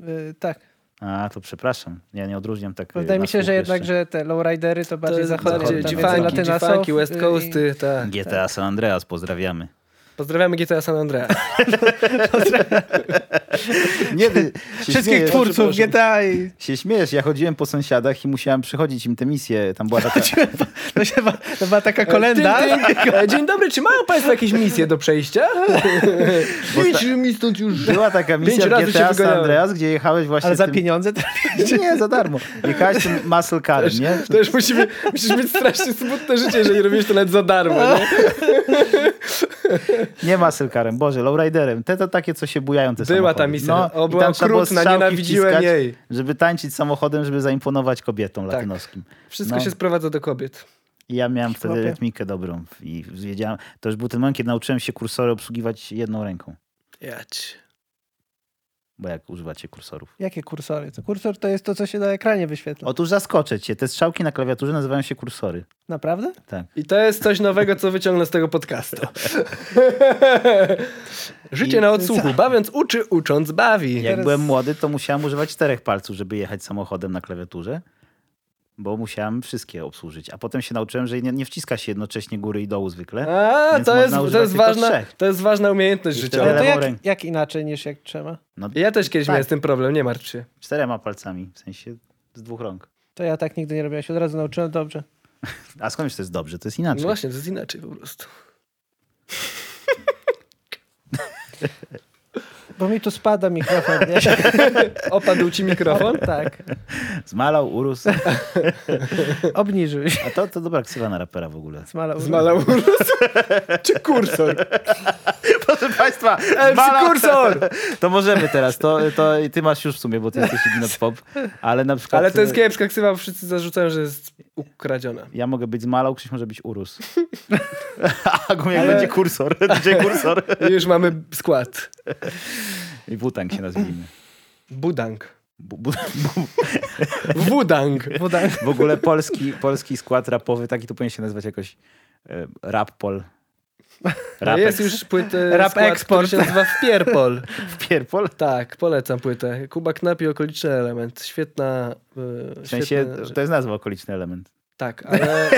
Speaker 3: Y, tak.
Speaker 1: A, to przepraszam. Ja nie odróżniam tak. y,
Speaker 3: Wydaje
Speaker 1: na
Speaker 3: mi się, że
Speaker 1: słuch
Speaker 3: jednak,
Speaker 1: jeszcze.
Speaker 3: że te lowridery to
Speaker 2: To
Speaker 3: bardziej
Speaker 2: jest
Speaker 3: zachodnie.
Speaker 2: bardziej
Speaker 3: tam więcej
Speaker 2: G-funki,
Speaker 3: latyna są,
Speaker 2: G-funki,
Speaker 3: y,
Speaker 2: West
Speaker 3: i-
Speaker 2: Coasty, tak.
Speaker 1: GTA San Andreas, pozdrawiamy.
Speaker 2: Pozdrawiamy GTA San Andreas.
Speaker 1: Nie, ty, się
Speaker 3: Wszystkich
Speaker 1: śmiejesz,
Speaker 3: twórców GTA i...
Speaker 1: Się śmiejesz, ja chodziłem po sąsiadach i musiałem przechodzić im te misje. Tam była taka...
Speaker 3: To, się, ba- to była taka kolenda.
Speaker 2: Tym, tym. E, Dzień dobry, czy mają Państwo jakieś misje do przejścia? Idź mi stąd już.
Speaker 1: Była taka misja
Speaker 2: Pięć
Speaker 1: w
Speaker 2: razy cię
Speaker 1: GTA San
Speaker 2: wyganiałem.
Speaker 1: Andreas, gdzie jechałeś właśnie
Speaker 3: Ale za
Speaker 1: tym...
Speaker 3: pieniądze?
Speaker 1: Nie, za darmo. Jechałeś tym muscle carem, nie?
Speaker 2: To już musimy, musisz mieć strasznie smutne życie, jeżeli robisz to nawet za darmo. Nie?
Speaker 1: Nie muscle carem, Boże, lowriderem. Te to takie, co się bujają te
Speaker 2: Była
Speaker 1: samochody. No,
Speaker 2: ta misja. O,
Speaker 1: i
Speaker 2: była
Speaker 1: tam trzeba było
Speaker 2: okrutna,
Speaker 1: strzałki
Speaker 2: nienawidziłem
Speaker 1: wciskać,
Speaker 2: jej. Tak.
Speaker 1: Żeby tańczyć samochodem, żeby zaimponować kobietom latynoskim.
Speaker 2: Wszystko
Speaker 1: No.
Speaker 2: się sprowadza do kobiet.
Speaker 1: I ja miałem wtedy
Speaker 3: Chłopie.
Speaker 1: rytmikę dobrą i wiedziałem, to już był ten moment, kiedy nauczyłem się kursory obsługiwać jedną ręką,
Speaker 2: Jać.
Speaker 1: bo jak używacie kursorów.
Speaker 3: Jakie kursory? To kursor to jest to, co się na ekranie wyświetla.
Speaker 1: Otóż zaskoczę cię, te strzałki na klawiaturze nazywają się kursory.
Speaker 3: Naprawdę?
Speaker 2: I to jest coś nowego, co wyciągnę z tego podcastu. Życie na odsłuchu. Bawiąc uczy, ucząc bawi.
Speaker 1: Jak
Speaker 3: Teraz-
Speaker 1: byłem młody, to musiałem używać czterech palców, żeby jechać samochodem na klawiaturze, bo musiałem wszystkie obsłużyć. A potem się nauczyłem, że nie, nie wciska się jednocześnie góry i dołu zwykle.
Speaker 2: A,
Speaker 1: Więc
Speaker 2: to
Speaker 1: można
Speaker 2: jest, to,
Speaker 1: używać
Speaker 2: jest
Speaker 1: tylko
Speaker 2: ważna,
Speaker 1: trzech.
Speaker 2: to jest ważna umiejętność
Speaker 1: I
Speaker 2: życiowa.
Speaker 1: wtedy
Speaker 3: Ale to
Speaker 1: lewą
Speaker 3: jak,
Speaker 1: ręką.
Speaker 3: jak inaczej niż jak trzema?
Speaker 1: No,
Speaker 2: Ja też kiedyś
Speaker 1: Tak.
Speaker 2: miałem z tym problem, nie martw się.
Speaker 1: czterema palcami, w sensie z dwóch rąk.
Speaker 3: To ja tak nigdy nie robiłem. Ja się od razu nauczyłem dobrze.
Speaker 1: A skąd wiesz, to jest dobrze, to jest
Speaker 2: No
Speaker 1: inaczej.
Speaker 2: właśnie, to jest inaczej po prostu.
Speaker 3: Bo mi tu spada mikrofon. Nie?
Speaker 2: Opadł ci mikrofon?
Speaker 3: tak.
Speaker 1: Zmalał, urósł.
Speaker 3: Obniżył się.
Speaker 1: A to, to dobra ksywa na rapera w ogóle.
Speaker 3: Zmalał.
Speaker 2: Zmalał urósł. Czy kursor?
Speaker 1: Proszę Państwa,
Speaker 2: Zmalał.
Speaker 1: kursor! To możemy teraz, to, to ty masz już w sumie, bo ty jesteś jedyny pop, ale na
Speaker 3: Tak,
Speaker 1: przykład...
Speaker 2: Ale to jest kiepska ksywa, bo wszyscy zarzucają, że jest ukradziona.
Speaker 1: Ja mogę być zmalał, Krzyś może być urósł. A Gumiak będzie kursor, będzie kursor.
Speaker 2: I już mamy skład.
Speaker 1: I Wutang się nazwijmy.
Speaker 2: Budang.
Speaker 1: Bu, bu, bu.
Speaker 2: Wudang.
Speaker 1: W ogóle polski, polski skład rapowy, taki to powinien się nazywać jakoś e, rap pol.
Speaker 2: To
Speaker 1: Rap
Speaker 2: jest już płytę
Speaker 3: Rap
Speaker 2: skład,
Speaker 3: Export.
Speaker 2: który się nazywa Wpierpol.
Speaker 1: pierpol.
Speaker 2: Tak, polecam płytę. Kuba Knap i okoliczny element. Świetna... y,
Speaker 1: W sensie,
Speaker 2: świetna rzecz.
Speaker 1: to jest nazwa okoliczny element.
Speaker 2: Tak, ale...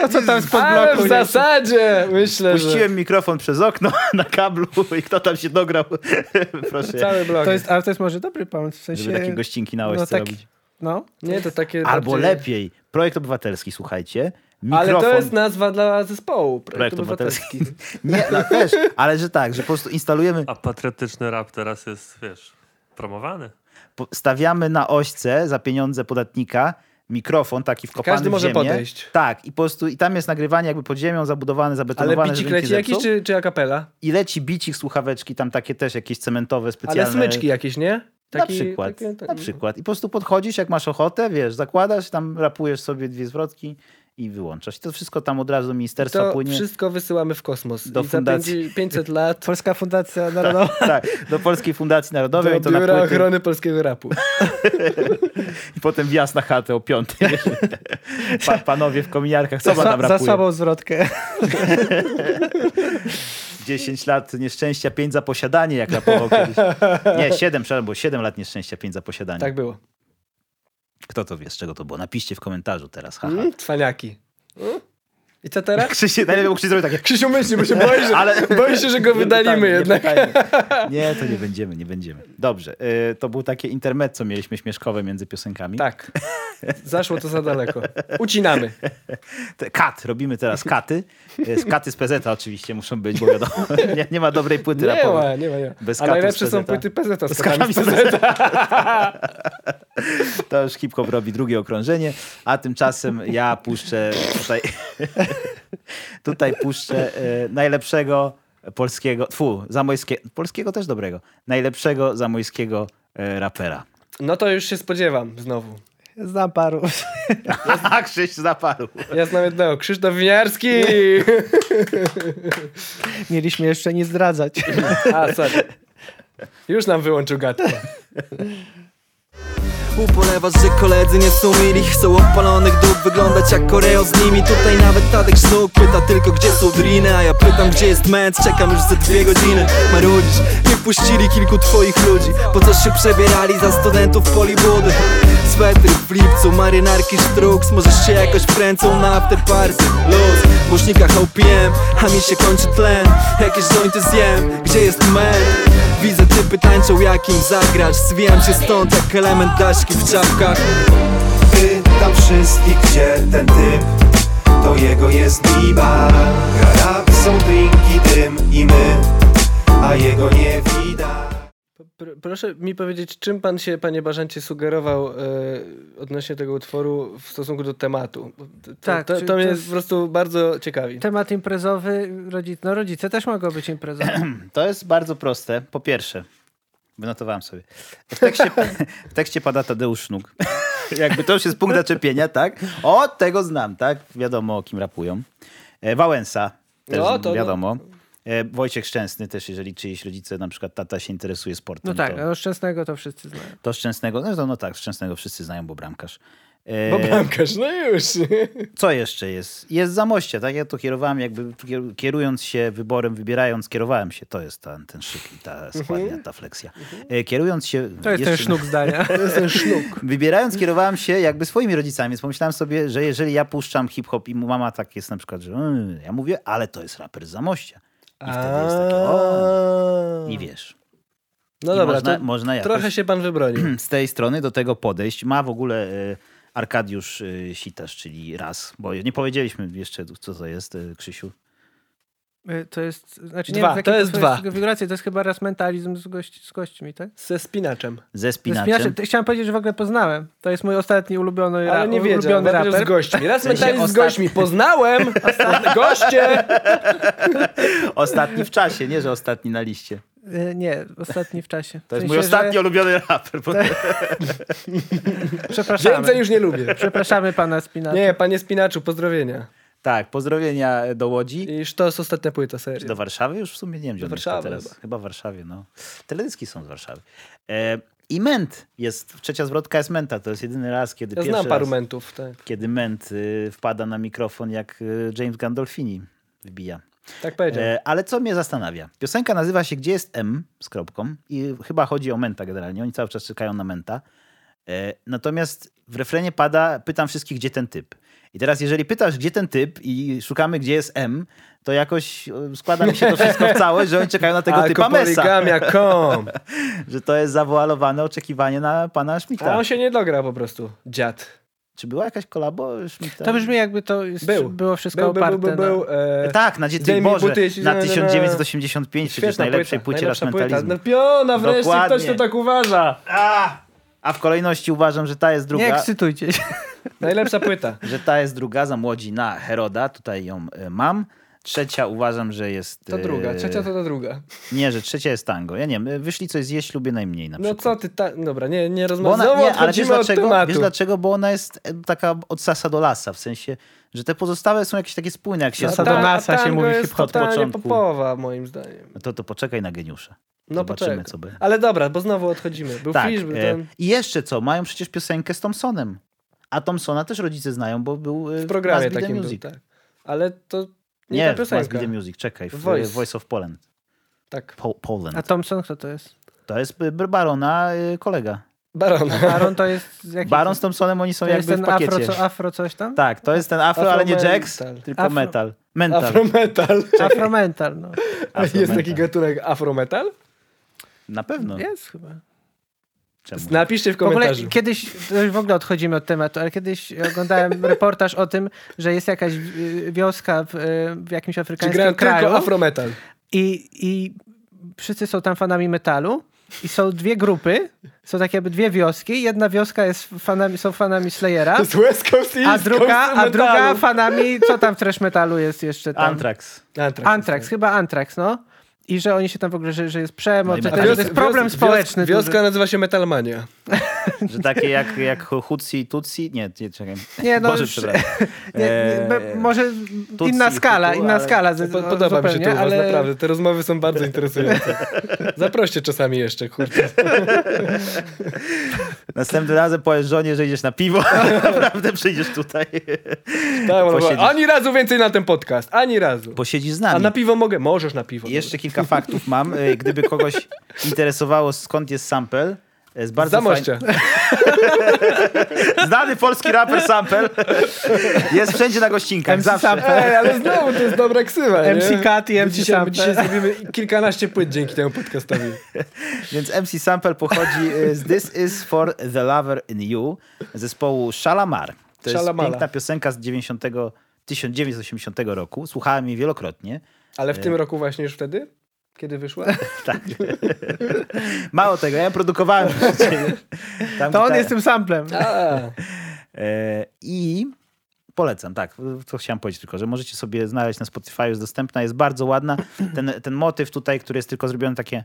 Speaker 3: To co tam spod
Speaker 2: ale
Speaker 3: bloku?
Speaker 2: w
Speaker 3: nie?
Speaker 2: zasadzie myślę,
Speaker 1: Puściłem mikrofon przez okno na kablu i kto tam się dograł,
Speaker 2: że...
Speaker 1: proszę.
Speaker 2: Cały blok.
Speaker 3: To jest, ale to jest może dobry pomysł. W sensie...
Speaker 1: Żeby takie gościnki na łezce
Speaker 3: no tak.
Speaker 1: robić.
Speaker 3: No.
Speaker 2: Nie, to takie...
Speaker 1: Albo
Speaker 2: bardziej-
Speaker 1: lepiej, projekt obywatelski, słuchajcie.
Speaker 2: Ale
Speaker 1: Mikrofon,
Speaker 2: to jest nazwa dla zespołu.
Speaker 1: projekt obywatelski. Nie, no też, ale że tak, że po prostu instalujemy,
Speaker 10: A patriotyczny rap teraz jest, wiesz, promowany.
Speaker 1: po- stawiamy na ośce za pieniądze podatnika mikrofon taki wkopany
Speaker 2: Każdy
Speaker 1: w
Speaker 2: może
Speaker 1: ziemię.
Speaker 2: podejść.
Speaker 1: Tak, i po prostu i tam jest nagrywanie jakby pod ziemią, zabudowane,
Speaker 2: Ale
Speaker 1: zabetonowane,
Speaker 2: bicik
Speaker 1: żeby nic
Speaker 2: leci
Speaker 1: nie
Speaker 2: jakiś
Speaker 1: zepsuł.
Speaker 2: czy, czy akapela?
Speaker 1: I leci bicik, słuchaweczki, tam takie też jakieś cementowe, specjalne.
Speaker 2: Ale smyczki jakieś, nie?
Speaker 1: na przykład,
Speaker 2: takie- tak-
Speaker 1: na przykład. I po prostu podchodzisz, jak masz ochotę, wiesz, zakładasz, tam rapujesz sobie dwie zwrotki i wyłączasz. I to wszystko tam od razu do ministerstwa
Speaker 2: To
Speaker 1: płynie.
Speaker 2: wszystko wysyłamy w kosmos.
Speaker 1: Do
Speaker 2: I za
Speaker 1: fundacji.
Speaker 2: 500 500 lat
Speaker 3: Polska Fundacja Narodowa.
Speaker 1: Tak, do Polskiej Fundacji Narodowej i
Speaker 2: do
Speaker 1: to na
Speaker 2: Biura
Speaker 1: płyty,
Speaker 2: Ochrony Polskiego Rapu.
Speaker 1: i potem wjazd na chatę o piątej. pa, panowie w kominiarkach, co
Speaker 3: za,
Speaker 1: wam tam
Speaker 3: za
Speaker 1: rapuje?
Speaker 3: słabą zwrotkę.
Speaker 1: 10 lat nieszczęścia, 5 za posiadanie, jak rapował kiedyś. Nie, 7, przepraszam, było 7 lat nieszczęścia, 5 za posiadanie.
Speaker 2: Tak było.
Speaker 1: Kto to wie, z czego to było? Napiszcie w komentarzu teraz, haha. Tak,
Speaker 2: Mm, cwaniaki. Mm. I co teraz?
Speaker 1: Krzysiek, najlepiej był Krzysiek zrobił takie...
Speaker 2: Krzysiu myśli, bo się boi, że,
Speaker 1: Ale-
Speaker 2: boi się, że go wydalimy
Speaker 1: pytajmy,
Speaker 2: jednak.
Speaker 1: Nie, pytajmy. nie, to nie będziemy, nie będziemy. Dobrze, y, to był takie intermezzo mieliśmy śmieszkowe między piosenkami.
Speaker 2: tak. Zaszło to za daleko. Ucinamy.
Speaker 1: Te- Kat, robimy teraz katy. Y, Z katy z PZ oczywiście muszą być, bo wiadomo, nie, nie ma dobrej płyty
Speaker 2: Nie
Speaker 1: rapowej.
Speaker 2: ma, nie ma, nie ma.
Speaker 1: Bez
Speaker 2: A
Speaker 1: katów z
Speaker 2: najlepsze
Speaker 1: PZ-a.
Speaker 2: są płyty PZ z
Speaker 1: Z
Speaker 2: katami
Speaker 1: katami
Speaker 2: z PZ.
Speaker 1: To już hip hop robi drugie okrążenie, a tymczasem ja puszczę tutaj, tutaj puszczę e, najlepszego polskiego, tfu, zamojskiego, polskiego też dobrego, najlepszego zamojskiego e, rapera.
Speaker 2: No to już się spodziewam znowu.
Speaker 3: Znam paru.
Speaker 1: A Krzyś zaparł.
Speaker 2: Ja znam jednego. Krzysztof Winiarski!
Speaker 3: Mieliśmy jeszcze nie zdradzać.
Speaker 2: A, sorry. Już nam wyłączył gadkę.
Speaker 11: Ubolewasz, że koledzy nie są mili Chcą opalonych dup wyglądać jak koreo z nimi Tutaj nawet Tadek Sznuk pyta tylko gdzie są driny A ja pytam gdzie jest męc, czekam już ze dwie godziny Marudzisz, nie wpuścili kilku twoich ludzi Po co się przebierali za studentów Polibudy Swetry w lipcu, marynarki sztruks Możesz się jakoś wkręcą na afterparty Luz, w głośnikach OPM A mi się kończy tlen, jakieś jointy zjem Gdzie jest męt? Widzę typy tańczą jak im zagrać Zwijam się stąd jak element daszki w czapkach
Speaker 12: pytam wszystkich, gdzie ten typ To jego jest biba Garapy są drinki, dym i my A jego nie widać
Speaker 2: Pr- Proszę mi powiedzieć, czym pan się, panie Barzancie, sugerował e, odnośnie tego utworu w stosunku do tematu? Bo To,
Speaker 3: Tak,
Speaker 2: to, to,
Speaker 3: czy
Speaker 2: to
Speaker 3: to Tak.
Speaker 2: mnie
Speaker 3: jest-
Speaker 2: po prostu bardzo ciekawi.
Speaker 3: Temat imprezowy, rodzic, no rodzice też mogą być No imprezowi.
Speaker 1: To jest bardzo proste. Po pierwsze, wynotowałem sobie. W tekście, w tekście pada Tadeusz Sznuk. Jakby to już jest punkt zaczepienia, tak? O, tego znam, tak? Wiadomo, o kim rapują. E, Wałęsa, też
Speaker 2: No, to-
Speaker 1: wiadomo. E, Wojciech Szczęsny też, jeżeli czyjeś rodzice, na przykład tata się interesuje sportem,
Speaker 3: No tak,
Speaker 1: to,
Speaker 3: no szczęsnego to wszyscy znają.
Speaker 1: to Szczęsnego, no, to- no tak, Szczęsnego wszyscy znają, bo bramkarz. E,
Speaker 2: Bo bramkarz, no już.
Speaker 1: co jeszcze jest? Jest zamoście, tak? Ja to kierowałem, jakby kier- kierując się wyborem, wybierając, kierowałem się. To jest ten, ten szyk i ta
Speaker 2: Mhm.
Speaker 1: składnia, ta fleksja. E, Kierując się.
Speaker 3: To jest ten
Speaker 1: jeszcze-
Speaker 3: sznuk zdania. To jest ten sznuk.
Speaker 1: Wybierając, kierowałem się jakby swoimi rodzicami, więc pomyślałem sobie, że jeżeli ja puszczam hip-hop i mu mama tak jest na przykład, że "Mm", ja mówię, ale to jest raper z Zamościa. I wtedy jest takie, o, i wiesz.
Speaker 2: No
Speaker 1: I
Speaker 2: dobra,
Speaker 1: można,
Speaker 2: to
Speaker 1: można jakoś
Speaker 2: trochę się pan wybronił.
Speaker 1: z tej strony do tego podejść. Ma w ogóle e, Arkadiusz e, Sitasz, czyli raz, bo nie powiedzieliśmy jeszcze, co to jest, e, Krzysiu.
Speaker 3: Y, To jest, znaczy nie
Speaker 2: Dwa,
Speaker 3: wiem, w jakiej
Speaker 2: to jest
Speaker 3: konfiguracji-
Speaker 2: dwa.
Speaker 3: konfiguracji, to jest chyba raz mentalizm z, gości, z gośćmi, tak?
Speaker 2: Ze spinaczem.
Speaker 1: Ze
Speaker 3: To jest inaczej.
Speaker 1: spinaczem.
Speaker 3: Ty- Chciałem powiedzieć, że w ogóle poznałem. To jest mój ostatni ulubiony, ra-
Speaker 2: Ale nie wiedział,
Speaker 3: ulubiony
Speaker 2: raper. z
Speaker 3: raper.
Speaker 2: gośćmi. Raz
Speaker 1: W sensie
Speaker 2: mentalizm z
Speaker 1: ostat-
Speaker 2: gośćmi. Poznałem goście.
Speaker 1: Ostatni w czasie, nie, że ostatni na liście.
Speaker 3: Y, Nie, ostatni w czasie.
Speaker 1: To jest mój ostatni ulubiony raper. Bo...
Speaker 2: Tak.
Speaker 3: Przepraszamy.
Speaker 2: Więcej już nie lubię.
Speaker 3: Przepraszamy pana Spinacza.
Speaker 2: Nie, panie spinaczu, pozdrowienia.
Speaker 1: Tak, pozdrowienia do Łodzi.
Speaker 2: I to jest ostatnia płyta, serio.
Speaker 1: Do Warszawy już w sumie nie wiem, gdzie
Speaker 2: Do
Speaker 1: on mieszka
Speaker 2: Warszawy
Speaker 1: teraz.
Speaker 2: chyba.
Speaker 1: Chyba. w Warszawie, no. Teledyski są z Warszawy. E, I Ment jest, trzecia zwrotka jest Menta. To jest jedyny raz, kiedy
Speaker 2: Ja
Speaker 1: pierwszy
Speaker 2: znam paru
Speaker 1: raz,
Speaker 2: mentów. Tak,
Speaker 1: kiedy Ment y, wpada na mikrofon jak y, James Gandolfini wybija.
Speaker 2: tak powiedział.
Speaker 1: E, ale co mnie zastanawia? Piosenka nazywa się Gdzie jest M z kropką i chyba chodzi o Menta generalnie. Oni cały czas czekają na Menta. E, natomiast w refrenie pada pytam wszystkich, gdzie ten typ. I teraz jeżeli pytasz, gdzie ten typ i szukamy, gdzie jest M, to jakoś e, składa mi się to wszystko w całość, że oni czekają na tego typa Mesa. Tak.
Speaker 2: Alkopoligamia.com
Speaker 1: Że to jest zawoalowane oczekiwanie na pana
Speaker 2: A
Speaker 1: Schmidta.
Speaker 2: on się nie dogra po prostu. Dziad.
Speaker 1: Czy była jakaś kolabo Schmidta?
Speaker 3: To brzmi jakby to jest,
Speaker 2: Był.
Speaker 3: było wszystko
Speaker 2: Był, był,
Speaker 3: oparte
Speaker 2: był, był, był. E,
Speaker 1: Tak, na Dzień
Speaker 2: Jamie
Speaker 1: Boże,
Speaker 2: Buty,
Speaker 1: na
Speaker 2: na- na-
Speaker 1: 1985,
Speaker 2: świetna
Speaker 1: przecież najlepszej
Speaker 2: płyta,
Speaker 1: płycie
Speaker 2: najlepsza płyta.
Speaker 1: raczmentalizmu.
Speaker 2: No piona, wreszcie
Speaker 1: Dokładnie.
Speaker 2: ktoś to tak uważa.
Speaker 1: A w kolejności uważam, że ta jest
Speaker 3: na... Nie
Speaker 1: druga.
Speaker 3: ekscytujcie się.
Speaker 2: Najlepsza płyta.
Speaker 1: że ta jest druga za młodzi na Heroda, tutaj ją e, mam. Trzecia uważam, że jest.
Speaker 2: To
Speaker 1: e,
Speaker 2: druga, trzecia to ta druga.
Speaker 1: Nie, że trzecia jest tango. Ja nie wiem, e, wyszli coś zjeść, lubię najmniej na
Speaker 2: No
Speaker 1: przykład.
Speaker 2: co ty, ta... dobra, nie, nie
Speaker 1: Bo ona,
Speaker 2: rozmawiamy. Znowu
Speaker 1: nie, ale wiesz
Speaker 2: odchodzimy od
Speaker 1: dlaczego?
Speaker 2: tematu.
Speaker 1: Wiesz dlaczego? Bo ona jest e, taka od sasa do lasa, w sensie, że te pozostałe są jakieś takie spójne, jak się
Speaker 3: Sasa
Speaker 2: Ta-
Speaker 3: do
Speaker 1: odda-
Speaker 3: lasa się
Speaker 2: tango
Speaker 3: mówi
Speaker 1: hip
Speaker 2: jest
Speaker 1: hop od
Speaker 2: totalnie
Speaker 1: początku.
Speaker 2: popowa, moim zdaniem.
Speaker 1: No to, to poczekaj na geniusza.
Speaker 2: No
Speaker 1: Zobaczymy,
Speaker 2: poczekaj.
Speaker 1: co będzie.
Speaker 2: Ale dobra, bo znowu odchodzimy. Był
Speaker 1: Tak.
Speaker 2: Fish, był
Speaker 1: e,
Speaker 2: ten...
Speaker 1: I jeszcze co? Mają przecież piosenkę z Thompsonem. A Thompsona też rodzice znają, bo był e,
Speaker 2: W programie
Speaker 1: Must Be the
Speaker 2: takim był,
Speaker 1: Music.
Speaker 2: tak. Ale to
Speaker 1: Nie, nie ta piosenka. The Music, czekaj. W Voice. Voice of Poland.
Speaker 2: Tak.
Speaker 1: Po Poland.
Speaker 3: A Thompson kto to jest?
Speaker 1: To jest y, Barona y, kolega.
Speaker 2: Baron.
Speaker 3: A Baron to jest... Jaki
Speaker 1: Baron z Thompsonem, oni są to jakby
Speaker 3: jest
Speaker 1: w pakiecie.
Speaker 3: Afro, co, afro coś tam?
Speaker 1: Tak, to jest ten afro,
Speaker 2: Afro
Speaker 1: ale nie
Speaker 2: metal.
Speaker 1: Jax, tylko
Speaker 3: Afro-
Speaker 1: metal. Mental.
Speaker 2: Afrometal.
Speaker 3: Afromental, no.
Speaker 2: Jest taki gatunek afrometal?
Speaker 1: Na
Speaker 2: Tak.
Speaker 1: pewno.
Speaker 3: Jest chyba.
Speaker 1: Czemu?
Speaker 2: Napiszcie w
Speaker 3: W ogóle
Speaker 2: komentarzu.
Speaker 3: kiedyś, to już w ogóle odchodzimy od tematu, ale kiedyś oglądałem reportaż o tym, że jest jakaś y, wioska w, y, w jakimś
Speaker 2: Czy
Speaker 3: afrykańskim
Speaker 2: grają
Speaker 3: kraju
Speaker 2: tylko afrometal?
Speaker 3: i, i wszyscy są tam fanami metalu i są dwie grupy, są takie jakby dwie wioski. Jedna wioska jest fanami, są fanami Slayera,
Speaker 2: To jest West Coast i
Speaker 3: a
Speaker 2: East
Speaker 3: druga,
Speaker 2: Coast
Speaker 3: a druga
Speaker 2: metalu.
Speaker 3: fanami, co tam w trash metalu jest jeszcze tam?
Speaker 1: Antrax.
Speaker 2: Anthrax.
Speaker 3: Antrax, chyba Antrax, no. I że oni się tam w ogóle, że, że jest
Speaker 1: No
Speaker 3: przemoc, że
Speaker 1: i
Speaker 3: to,
Speaker 1: metal.
Speaker 3: że
Speaker 1: wios-
Speaker 3: to jest problem
Speaker 2: wios-
Speaker 3: społeczny.
Speaker 2: Wios,
Speaker 3: duży.
Speaker 2: wioska nazywa się Metalmania.
Speaker 1: Że takie jak, jak Hutsi, Tutsi. Nie, nie, czekaj.
Speaker 3: Nie, no
Speaker 1: Boże,
Speaker 3: już-
Speaker 1: przepraszam.
Speaker 3: Nie, nie,
Speaker 1: Eee,
Speaker 3: be- może
Speaker 1: Tutsi
Speaker 3: inna
Speaker 1: i
Speaker 3: skala,
Speaker 1: Hutu,
Speaker 3: inna
Speaker 1: ale-
Speaker 3: skala. z-
Speaker 2: Po, podoba mi się
Speaker 3: zupełnie,
Speaker 2: to u was,
Speaker 3: ale-
Speaker 2: naprawdę. Te rozmowy są bardzo interesujące. Zaproście czasami jeszcze, kurczę.
Speaker 1: Następnym razem powiesz żonie, że idziesz na piwo. Naprawdę przyjdziesz tutaj.
Speaker 2: Tak, no,
Speaker 1: Posiedzisz.
Speaker 2: ani razu więcej na ten podcast, ani razu.
Speaker 1: Posiedzisz z
Speaker 2: A
Speaker 1: nami.
Speaker 2: na piwo mogę? Możesz na piwo.
Speaker 1: Jeszcze kilka faktów mam. e, Gdyby kogoś interesowało, skąd jest sample. e, Z
Speaker 2: Z
Speaker 1: bardzo fajny,
Speaker 2: Zamościa.
Speaker 1: Znany polski raper Sample jest wszędzie na gościnkach,
Speaker 3: MC
Speaker 1: zawsze.
Speaker 3: Sample.
Speaker 2: Ej, ale znowu to jest dobra ksywa, nie?
Speaker 3: MC Kat i
Speaker 2: My
Speaker 3: MC
Speaker 2: dzisiaj, my
Speaker 3: Sample.
Speaker 2: dzisiaj zrobimy kilkanaście płyt dzięki temu podcastowi.
Speaker 1: Więc MC Sample pochodzi e, z This Is For The Lover In You zespołu Shalamar. To
Speaker 2: Shalamala.
Speaker 1: jest piękna piosenka z 90, 1980 roku. Słuchałem jej wielokrotnie.
Speaker 2: Ale w tym roku właśnie już wtedy? Kiedy wyszła?
Speaker 1: Mało tego, ja ją produkowałem. Tam
Speaker 3: To on
Speaker 1: gita-
Speaker 3: jest tym samplem.
Speaker 2: A,
Speaker 1: E, I polecam, tak. To chciałem powiedzieć tylko, że możecie sobie znaleźć na Spotify, jest dostępna, jest bardzo ładna. Ten, ten motyw tutaj, który jest tylko zrobiony takie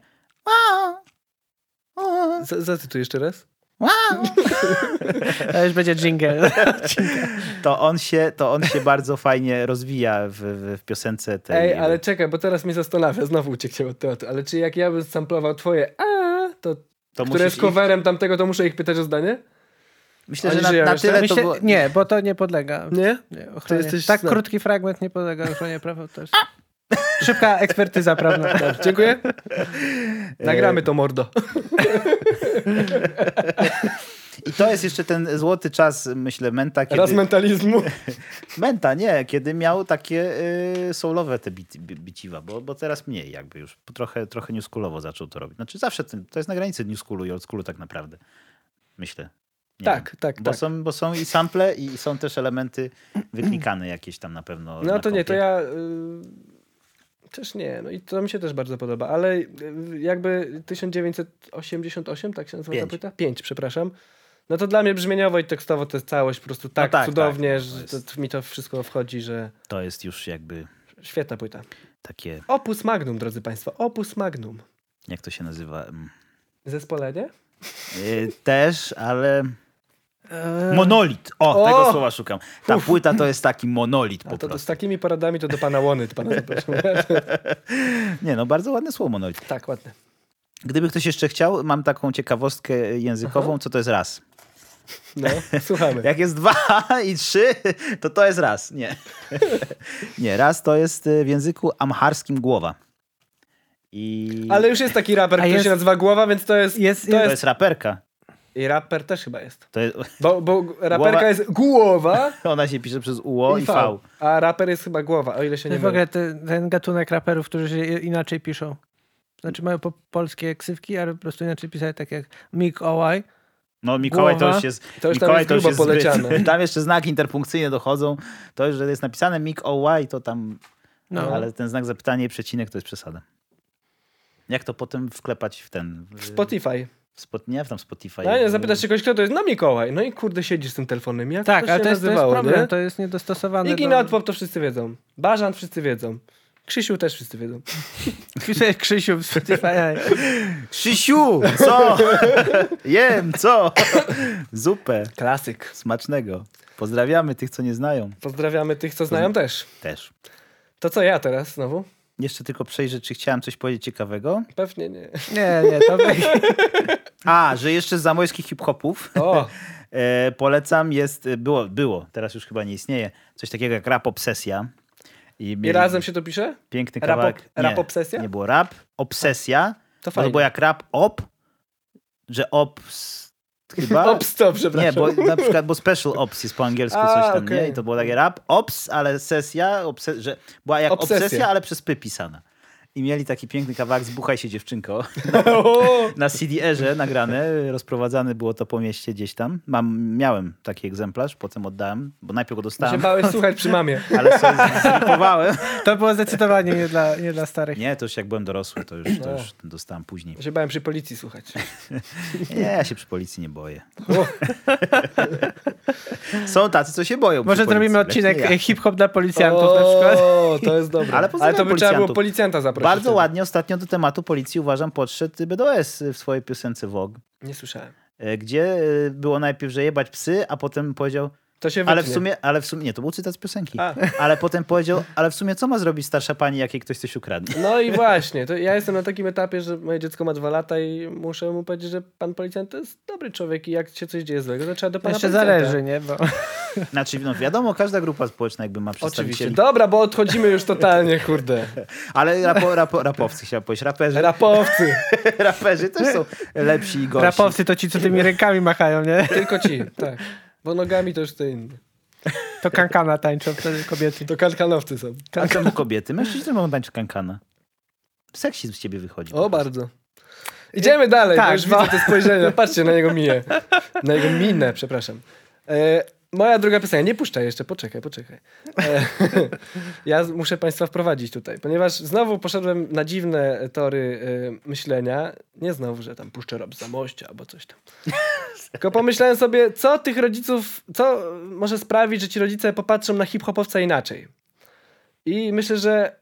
Speaker 2: z- zacytuj jeszcze raz.
Speaker 3: To już będzie jingle.
Speaker 1: to on się, to on się bardzo fajnie rozwija w, w, w piosence tej.
Speaker 2: Ej, ale czekaj, bo teraz mnie zastanawia, znowu uciekłem od tematu, ale czy jak ja bym samplował twoje a, to,
Speaker 1: to
Speaker 2: które
Speaker 1: musisz
Speaker 2: jest coverem tamtego, to muszę ich pytać o zdanie?
Speaker 1: ich- Myślę,
Speaker 2: Oni
Speaker 1: że na,
Speaker 2: żyją
Speaker 1: na
Speaker 2: jeszcze?
Speaker 1: tyle to
Speaker 3: Myślę,
Speaker 1: było...
Speaker 3: Nie, bo to nie podlega.
Speaker 2: Nie?
Speaker 3: Nie, ochronie.
Speaker 2: To jesteś
Speaker 3: tak
Speaker 2: zna-
Speaker 3: krótki fragment nie podlega ochronie praw autorskich. Szybka ekspertyza prawna.
Speaker 2: Dziękuję. Nagramy to,
Speaker 1: E,
Speaker 2: mordo.
Speaker 1: I to jest jeszcze ten złoty czas, myślę, Menta, kiedy...
Speaker 2: Raz mentalizmu.
Speaker 1: Menta, nie, kiedy miał takie y, soulowe te bit, bi- biciwa, bo, bo teraz mniej jakby już. Trochę, trochę new schoolowo zaczął to robić. Znaczy zawsze ten, to jest na granicy new schoolu i old schoolu tak naprawdę. Myślę. Nie
Speaker 2: Tak,
Speaker 1: wiem.
Speaker 2: tak,
Speaker 1: bo
Speaker 2: tak.
Speaker 1: Są, bo są i sample i są też elementy wyklikane jakieś tam na pewno.
Speaker 2: No
Speaker 1: na
Speaker 2: to nie, to
Speaker 1: kompie.
Speaker 2: ja. y, Też nie, no i to mi się też bardzo podoba, ale y, jakby 1988, tak się nazywa ta
Speaker 1: Pięć.
Speaker 2: płyta? 5, przepraszam. No to dla mnie brzmieniowo i tekstowo to jest całość po prostu tak,
Speaker 1: tak,
Speaker 2: cudownie,
Speaker 1: tak, to
Speaker 2: że
Speaker 1: jest-
Speaker 2: to, mi to wszystko wchodzi, że
Speaker 1: To jest już jakby
Speaker 2: świetna płyta.
Speaker 1: takie,
Speaker 2: Opus Magnum, drodzy Państwo, Opus Magnum.
Speaker 1: jak to się nazywa? Mm,
Speaker 2: Zespolenie?
Speaker 1: y, też, ale... Eee, Monolit. O,
Speaker 2: O!
Speaker 1: tego słowa szukam. Ta płyta to jest taki monolit po
Speaker 2: A to, to
Speaker 1: prostu.
Speaker 2: z takimi poradami to do pana Łony, to pana zapraszam.
Speaker 1: Nie, no bardzo ładne słowo monolit.
Speaker 2: tak, ładne.
Speaker 1: Gdyby ktoś jeszcze chciał, mam taką ciekawostkę językową, co to jest raz.
Speaker 2: No, słuchamy.
Speaker 1: Jak jest dwa i trzy, to to jest raz. Nie. Nie, raz to jest y, w języku amharskim głowa. I
Speaker 2: Ale już jest taki raper,
Speaker 3: A
Speaker 2: który
Speaker 3: jest-
Speaker 2: się nazywa Głowa, więc to jest...
Speaker 3: Jest,
Speaker 2: to
Speaker 1: to
Speaker 2: jest...
Speaker 1: jest raperka.
Speaker 2: I raper też chyba jest.
Speaker 1: To jest,
Speaker 2: Bo, bo raperka
Speaker 1: Głowa-
Speaker 2: jest głowa
Speaker 1: ona się pisze przez uło i,
Speaker 2: i
Speaker 1: v.
Speaker 2: V. A raper jest chyba głowa, o ile się
Speaker 3: To
Speaker 2: nie
Speaker 3: jest w
Speaker 2: mylę.
Speaker 3: ogóle te, ten gatunek raperów, którzy się inaczej piszą. Znaczy mają po polskie ksywki, ale po prostu inaczej pisali, tak jak Mick
Speaker 2: Tak,
Speaker 3: Ołaj.
Speaker 1: No Mikołaj to
Speaker 3: Głowa.
Speaker 1: już jest
Speaker 2: To już tam
Speaker 1: Mikołaj
Speaker 2: jest grubo
Speaker 1: zbyt.
Speaker 2: poleciane.
Speaker 1: Tam jeszcze znaki interpunkcyjne dochodzą. To już, że jest napisane Mikołaj, to tam...
Speaker 3: No.
Speaker 1: Ale ten znak zapytania i przecinek to jest przesada. Jak to potem wklepać w ten... W,
Speaker 2: Spotify.
Speaker 1: w spot, nie, w tam Spotify.
Speaker 2: No nie, zapytasz się kogoś, kto to jest? No Mikołaj. No i kurde, siedzisz z tym telefonem. Jak
Speaker 3: Tak,
Speaker 2: to się
Speaker 3: ale to jest, to jest
Speaker 2: nazywało,
Speaker 3: problem,
Speaker 2: nie?
Speaker 3: to jest no. niedostosowane.
Speaker 2: Iggy
Speaker 3: do-
Speaker 2: Notpop to wszyscy wiedzą. Bażan wszyscy wiedzą. Krzysiu też wszyscy wiedzą.
Speaker 3: Pisze Krzysiu w Spotify.
Speaker 1: Krzysiu, co? Jem, co? Zupę.
Speaker 2: Klasyk.
Speaker 1: Smacznego. Pozdrawiamy tych, co nie znają.
Speaker 2: Pozdrawiamy tych, co znają też.
Speaker 1: Też.
Speaker 2: To co ja teraz znowu?
Speaker 1: Jeszcze tylko przejrzę, czy chciałem coś powiedzieć ciekawego.
Speaker 2: Pewnie nie.
Speaker 3: Nie, nie, to
Speaker 1: A, że jeszcze z zamojskich hip-hopów
Speaker 2: O,
Speaker 1: e, polecam jest, było, było, teraz już chyba nie istnieje, coś takiego jak rap obsesja.
Speaker 2: I, I mieli... razem się to pisze?
Speaker 1: Piękny kawałek.
Speaker 2: Rap, op... rap obsesja? No
Speaker 1: Nie było rap, obsesja. no To fajnie. Bo jak rap op, że ops... Chyba?
Speaker 2: Ops to, przepraszam.
Speaker 1: Nie, bo na przykład, bo special ops jest po angielsku A, coś tam, okay. nie? I to było takie rap, ops, ale sesja, obse... że była jak obsesja, obsesja ale przez py pisana. I mieli taki piękny kawałek Zbuchaj się dziewczynko na CD-erze nagrane. Rozprowadzane było to po mieście gdzieś tam. Mam, miałem taki egzemplarz, potem oddałem, bo najpierw go dostałem.
Speaker 2: Ja
Speaker 3: Znaczy,
Speaker 2: się bałeś słuchać przy mamie.
Speaker 1: Ale sobie zlipowałem.
Speaker 3: To było zdecydowanie nie dla, nie dla starych.
Speaker 1: Nie, to już jak byłem dorosły, to już, to już dostałem później.
Speaker 2: Ja się bałem przy policji słuchać.
Speaker 1: nie, ja się przy policji nie boję. Są tacy, co się boją.
Speaker 3: Może zrobimy odcinek ja. hip-hop dla policjantów o, na przykład.
Speaker 2: O, to jest dobre. Ale, Ale to by trzeba było policjanta zaprosić.
Speaker 1: Bardzo ładnie ostatnio do tematu policji uważam podszedł BDOS w swojej piosence Vogue. e,
Speaker 2: Nie słyszałem.
Speaker 1: Gdzie było najpierw, że jebać psy, a potem powiedział.
Speaker 2: To się
Speaker 1: ale w sumie, ale w sumie, nie, to był cytat z piosenki. A. Ale potem powiedział, ale w sumie co ma zrobić starsza pani, jak jej ktoś coś ukradnie?
Speaker 2: No i właśnie, to ja jestem na takim etapie, że moje dziecko ma dwa lata i muszę mu powiedzieć, że pan policjant to jest dobry człowiek i jak się coś dzieje złego, to trzeba do pana
Speaker 3: Jeszcze
Speaker 2: policjanta.
Speaker 3: zależy, nie? Bo...
Speaker 1: Znaczy, no wiadomo, każda grupa społeczna jakby ma przedstawicieli.
Speaker 2: Oczywiście, dobra, bo odchodzimy już totalnie, kurde.
Speaker 1: Ale rapo, rapo, rapowcy chciałem powiedzieć, raperzy.
Speaker 2: Rapowcy.
Speaker 1: Raperzy też są lepsi i gorsi.
Speaker 3: Rapowcy to ci, co tymi rękami machają, nie?
Speaker 2: Tylko ci, tak. Bo nogami to już to inny.
Speaker 3: To kankana tańczą wtedy kobiety.
Speaker 2: To kankanowcy są.
Speaker 1: Kankan. A czemu kobiety? Mężczyźni mogą tańczyć kankana. Seksizm z ciebie wychodzi.
Speaker 2: O, bardzo. Idziemy dalej, tak, bo już no. widzę te spojrzenia. Patrzcie, na jego minę. Na jego minę, przepraszam. E, moja druga piosenka. Nie puszczaj jeszcze, poczekaj, poczekaj. E, ja muszę państwa wprowadzić tutaj, ponieważ znowu poszedłem na dziwne tory e, myślenia. Nie znowu, że tam puszczę rob za mościa albo coś tam. Tylko pomyślałem sobie, co tych rodziców, co może sprawić, że ci rodzice popatrzą na hip-hopowca inaczej. I myślę, że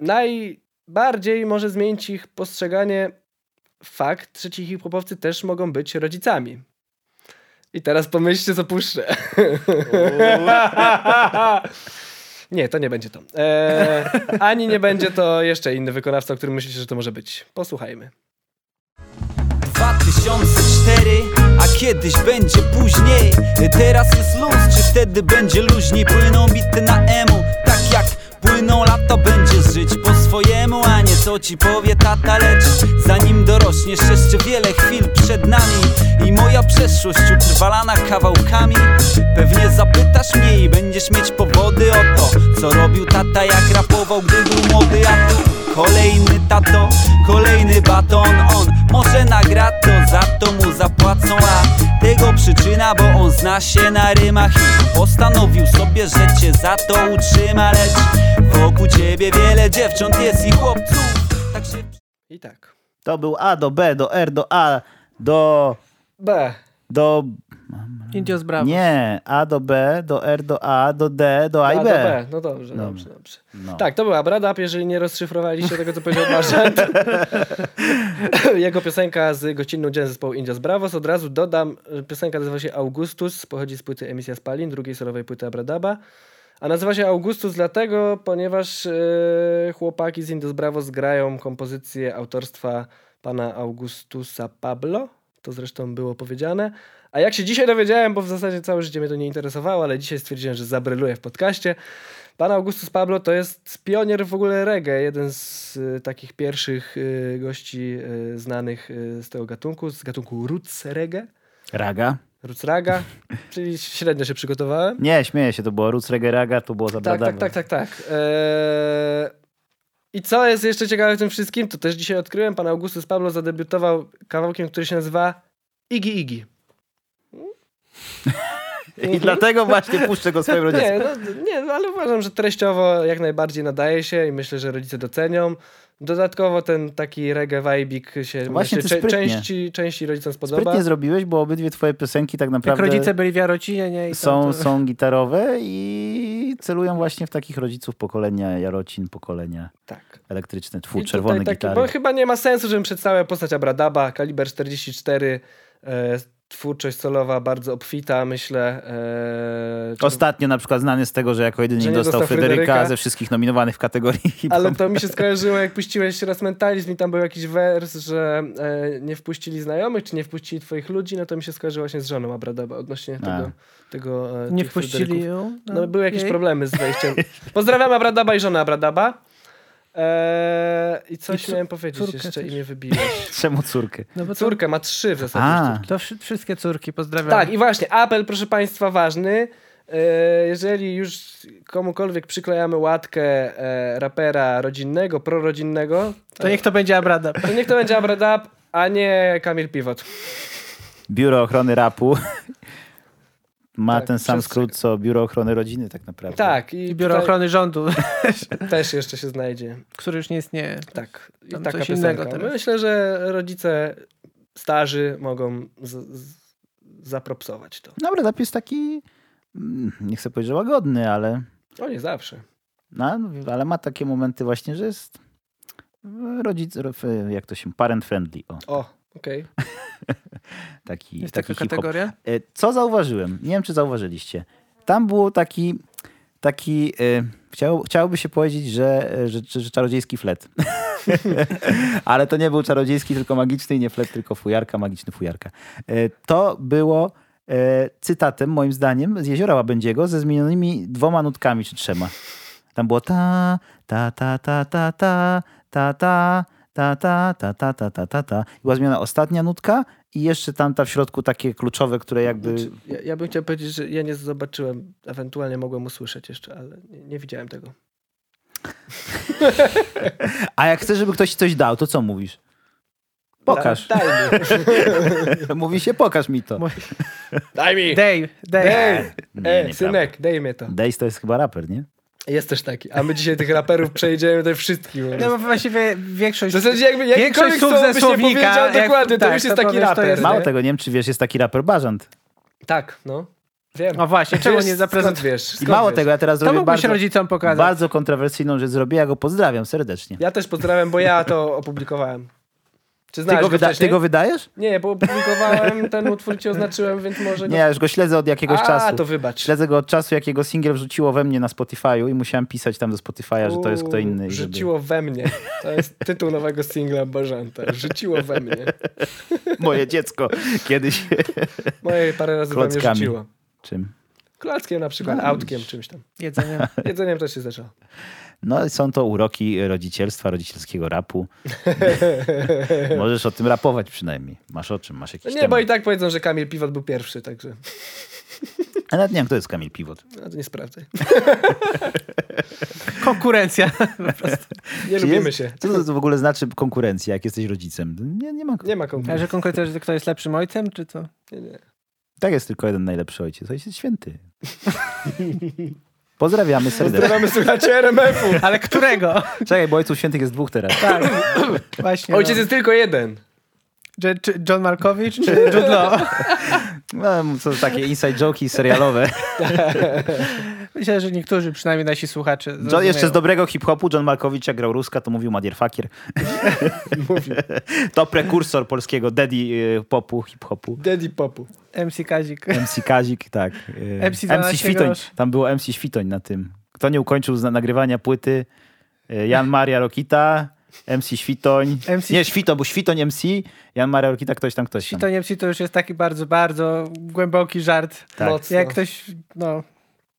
Speaker 2: najbardziej może zmienić ich postrzeganie fakt, że ci hip-hopowcy też mogą być rodzicami. I teraz pomyślcie, co puszczę. nie, to nie będzie to. Eee, ani nie będzie to jeszcze inny wykonawca, o którym myślicie, że to może być. Posłuchajmy.
Speaker 13: 2004 A kiedyś będzie później Teraz jest luz, czy wtedy będzie luźniej Płyną bity na emu Tak jak płyną lata Będziesz żyć po swojemu A nie co ci powie tata Lecz zanim dorośniesz jeszcze wiele chwil przed nami I moja przeszłość utrwalana kawałkami Pewnie zapytasz mnie i będziesz mieć powody o to Co robił tata jak rapował gdy był młody A tu kolejny tato, kolejny baton On może nagra to, za to mu zapłacą A tego przyczyna, bo on zna się na rymach I postanowił sobie, że cię za to utrzyma Lecz wokół ciebie wiele dziewcząt jest i chłopców Tak się...
Speaker 2: I tak
Speaker 1: To był A do B, do R, do A, do...
Speaker 2: B
Speaker 1: Do...
Speaker 3: Indios Bravos.
Speaker 1: Nie, A do B, do R do A, do D, do A, A i B.
Speaker 2: do B. No dobrze, no. dobrze, dobrze. No. Tak, to była Bradap, jeżeli nie rozszyfrowaliście tego, co powiedział Marzant. Jego piosenka z gościnną dzień zespołu Indios Bravos. Od razu dodam, piosenka nazywa się Augustus, pochodzi z płyty Emisja Spalin, drugiej solowej płyty Abradaba. A nazywa się Augustus dlatego, ponieważ yy, chłopaki z Indios Bravos grają kompozycję autorstwa pana Augustusa Pablo. To zresztą było powiedziane. A jak się dzisiaj dowiedziałem, bo w zasadzie całe życie mnie to nie interesowało, ale dzisiaj stwierdziłem, że zabryluję w podcaście. Pan Augustus Pablo to jest pionier w ogóle reggae, jeden z y, takich pierwszych y, gości y, znanych z tego gatunku, z gatunku roots reggae.
Speaker 1: Raga.
Speaker 2: Roots raga, czyli średnio się przygotowałem.
Speaker 1: Nie, śmieję się, to było roots reggae raga, to było zabradane.
Speaker 2: Tak, tak, tak, tak, tak. Eee... I co jest jeszcze ciekawe w tym wszystkim, to też dzisiaj odkryłem, pan Augustus Pablo zadebiutował kawałkiem, który się nazywa Igi Igi.
Speaker 1: I dlatego właśnie puszczę go swoim rodzicom.
Speaker 2: Nie, no, nie no, ale uważam, że treściowo jak najbardziej nadaje się i myślę, że rodzice docenią. Dodatkowo ten taki reggae vibik się
Speaker 1: No właśnie
Speaker 2: myślę, cze- części, części rodzicom spodoba.
Speaker 1: Sprytnie zrobiłeś, bo obydwie twoje piosenki tak naprawdę...
Speaker 3: Jak rodzice byli wiarocinieni.
Speaker 1: Są, to... są gitarowe i celują właśnie w takich rodziców pokolenia jarocin, pokolenia
Speaker 2: tak.
Speaker 1: elektryczne, twór, czerwone taki, gitary.
Speaker 2: Bo chyba nie ma sensu, żebym przedstawiał postać Abradaba, kaliber 44, e, twórczość solowa bardzo obfita, myślę.
Speaker 1: E, czy... Ostatnio na przykład znany z tego, że jako jedyny że nie dostał, dostał Fryderyka, Fryderyka ze wszystkich nominowanych w kategorii
Speaker 2: Ale to mi się skojarzyło, jak puściłeś raz mentalizm i tam był jakiś wers, że e, nie wpuścili znajomych, czy nie wpuścili twoich ludzi, no to mi się skojarzyło właśnie z żoną Abradaba odnośnie A. tego... tego
Speaker 3: e, nie wpuścili Fryderyków. ją?
Speaker 2: No, no były jakieś jej. problemy z wejściem. Pozdrawiam Abradaba i żonę Abradaba. Eee, I coś I co, miałem powiedzieć jeszcze też. i mnie wybiłeś.
Speaker 1: Czemu córkę?
Speaker 2: No bo Córkę ma trzy w zasadzie.
Speaker 3: A. To wszystkie córki, pozdrawiam.
Speaker 2: Tak, i właśnie, apel proszę państwa ważny. Eee, jeżeli już komukolwiek przyklejamy łatkę e, rapera rodzinnego, prorodzinnego...
Speaker 3: To, to niech to będzie Abradab.
Speaker 2: To niech to będzie Abradab, a nie Kamil Piwot.
Speaker 1: Biuro Ochrony Rapu ma tak, ten sam przez... skrót co Biuro Ochrony Rodziny tak naprawdę.
Speaker 2: Tak.
Speaker 3: I, I Biuro tutaj... Ochrony Rządu.
Speaker 2: Też jeszcze się znajdzie.
Speaker 3: Który już nie istnieje.
Speaker 2: Tak. I Tam taka coś piosenka. innego Myślę, że rodzice starzy mogą z, z, zapropsować to.
Speaker 1: Dobra, zapis taki, mm, nie chcę powiedzieć, że łagodny, ale...
Speaker 2: O, nie zawsze.
Speaker 1: No, ale ma takie momenty właśnie, że jest e, rodzic, jak to się, parent friendly. O,
Speaker 2: o. Okej. Okay.
Speaker 1: taki,
Speaker 3: Jest
Speaker 1: taki E,
Speaker 3: taka kategoria?
Speaker 1: Co zauważyłem? Nie wiem, czy zauważyliście. Tam był taki, taki e, chciał, chciałoby się powiedzieć, że, e, że, że, że czarodziejski flet. Ale to nie był czarodziejski, tylko magiczny i nie flet, tylko fujarka, magiczny fujarka. E, to było e, cytatem, moim zdaniem, z Jeziora Łabędziego ze zmienionymi dwoma nutkami czy trzema. Tam było ta, ta, ta, ta, ta, ta, ta, ta ta, ta, ta, ta, ta, ta, ta, ta. Była zmiana ostatnia nutka i jeszcze tam ta w środku takie kluczowe, które jakby... Znaczy,
Speaker 2: ja, ja, bym chciał powiedzieć, że ja nie zobaczyłem, ewentualnie mogłem usłyszeć jeszcze, ale nie, nie widziałem tego.
Speaker 1: A jak chcesz, żeby ktoś ci coś dał, to co mówisz? Pokaż.
Speaker 2: Da, daj
Speaker 1: mi. Mówi się, pokaż mi to.
Speaker 2: Daj mi.
Speaker 3: Dej, dej.
Speaker 2: dej. Nie, nie synek, prawo. dej mi to.
Speaker 1: Dejs to jest chyba raper, nie?
Speaker 2: Jest też taki. A my dzisiaj tych raperów przejdziemy tutaj wszystkich.
Speaker 3: No bo właściwie większość...
Speaker 2: W zasadzie jakby jakikolwiek słów ze słownika... Jak, dokładnie, tak, to już jest taki raper. To jest,
Speaker 1: Mało tego, nie wiem czy wiesz, jest taki raper Bażant.
Speaker 2: Tak, no. Wiem.
Speaker 3: No właśnie, czemu nie zaprezentujesz?
Speaker 1: I mało wiesz? tego, ja teraz to zrobię bardzo,
Speaker 3: rodzicom pokazać.
Speaker 1: bardzo kontrowersyjną rzecz zrobię, ja go pozdrawiam serdecznie.
Speaker 2: Ja też pozdrawiam, bo ja to opublikowałem. Czy
Speaker 1: ty go, wyda- ty go wydajesz?
Speaker 2: Nie, bo opublikowałem ten utwór, ci oznaczyłem, więc może...
Speaker 1: Go... Nie, już go śledzę od jakiegoś
Speaker 2: A,
Speaker 1: czasu.
Speaker 2: A, to wybacz.
Speaker 1: Śledzę go od czasu, jakiego singiel wrzuciło we mnie na Spotify'u i musiałem pisać tam do Spotify'a, że to jest kto inny.
Speaker 2: Rzuciło żeby... we mnie. To jest tytuł nowego singla Bożanta. Rzuciło we mnie.
Speaker 1: Moje dziecko kiedyś...
Speaker 2: Moje parę razy Klockami. we mnie rzuciło.
Speaker 1: Czym?
Speaker 2: Klockiem na przykład, no, autkiem, czymś tam.
Speaker 3: Jedzeniem.
Speaker 2: Jedzeniem też się zaczęło.
Speaker 1: No są to uroki rodzicielstwa, rodzicielskiego rapu. Możesz o tym rapować przynajmniej. Masz o czym, masz jakiś
Speaker 2: Nie,
Speaker 1: temat.
Speaker 2: bo i tak powiedzą, że Kamil Piwot był pierwszy, także...
Speaker 1: A nawet nie wiem, kto jest Kamil Piwot.
Speaker 2: No to nie sprawdzaj.
Speaker 3: konkurencja.
Speaker 2: nie Czy lubimy jest, się.
Speaker 1: Co to w ogóle znaczy konkurencja, jak jesteś rodzicem? Nie, nie ma
Speaker 2: konkurencji. Nie ma konkurencji.
Speaker 3: A że konkurencja, że kto jest lepszym ojcem, czy to?
Speaker 2: Nie, nie.
Speaker 1: Tak jest tylko jeden najlepszy ojciec. Ojciec jest święty. Pozdrawiamy serdecznie.
Speaker 2: Pozdrawiamy słuchacie RMF-u.
Speaker 3: Ale którego?
Speaker 1: Czekaj, bo ojców świętych jest dwóch teraz. Tak.
Speaker 2: Właśnie, Ojciec no. jest tylko jeden.
Speaker 3: J czy John Malkowicz czy Jude Law?
Speaker 1: No, są takie inside joki serialowe.
Speaker 3: Myślę, że niektórzy, przynajmniej nasi słuchacze John,
Speaker 1: rozumieją. Jeszcze z dobrego hip-hopu John Malkowicz jak grał Ruska, to mówił Madier Fakir.
Speaker 2: mówił.
Speaker 1: To prekursor polskiego daddy y, popu, hip-hopu.
Speaker 2: Daddy popu.
Speaker 3: MC Kazik.
Speaker 1: MC Kazik, tak.
Speaker 3: MC,
Speaker 1: MC Świtoń. Grosz. Tam było MC Świtoń na tym. Kto nie ukończył nagrywania płyty? y, Jan Maria Rokita. MC Świtoń. MC... Nie, Świto, bo Świtoń MC, Jan Maria Orkita, ktoś tam, ktoś tam.
Speaker 3: Świtoń MC to już jest taki bardzo, bardzo głęboki żart.
Speaker 1: Tak. Mocno.
Speaker 3: Jak ktoś, no,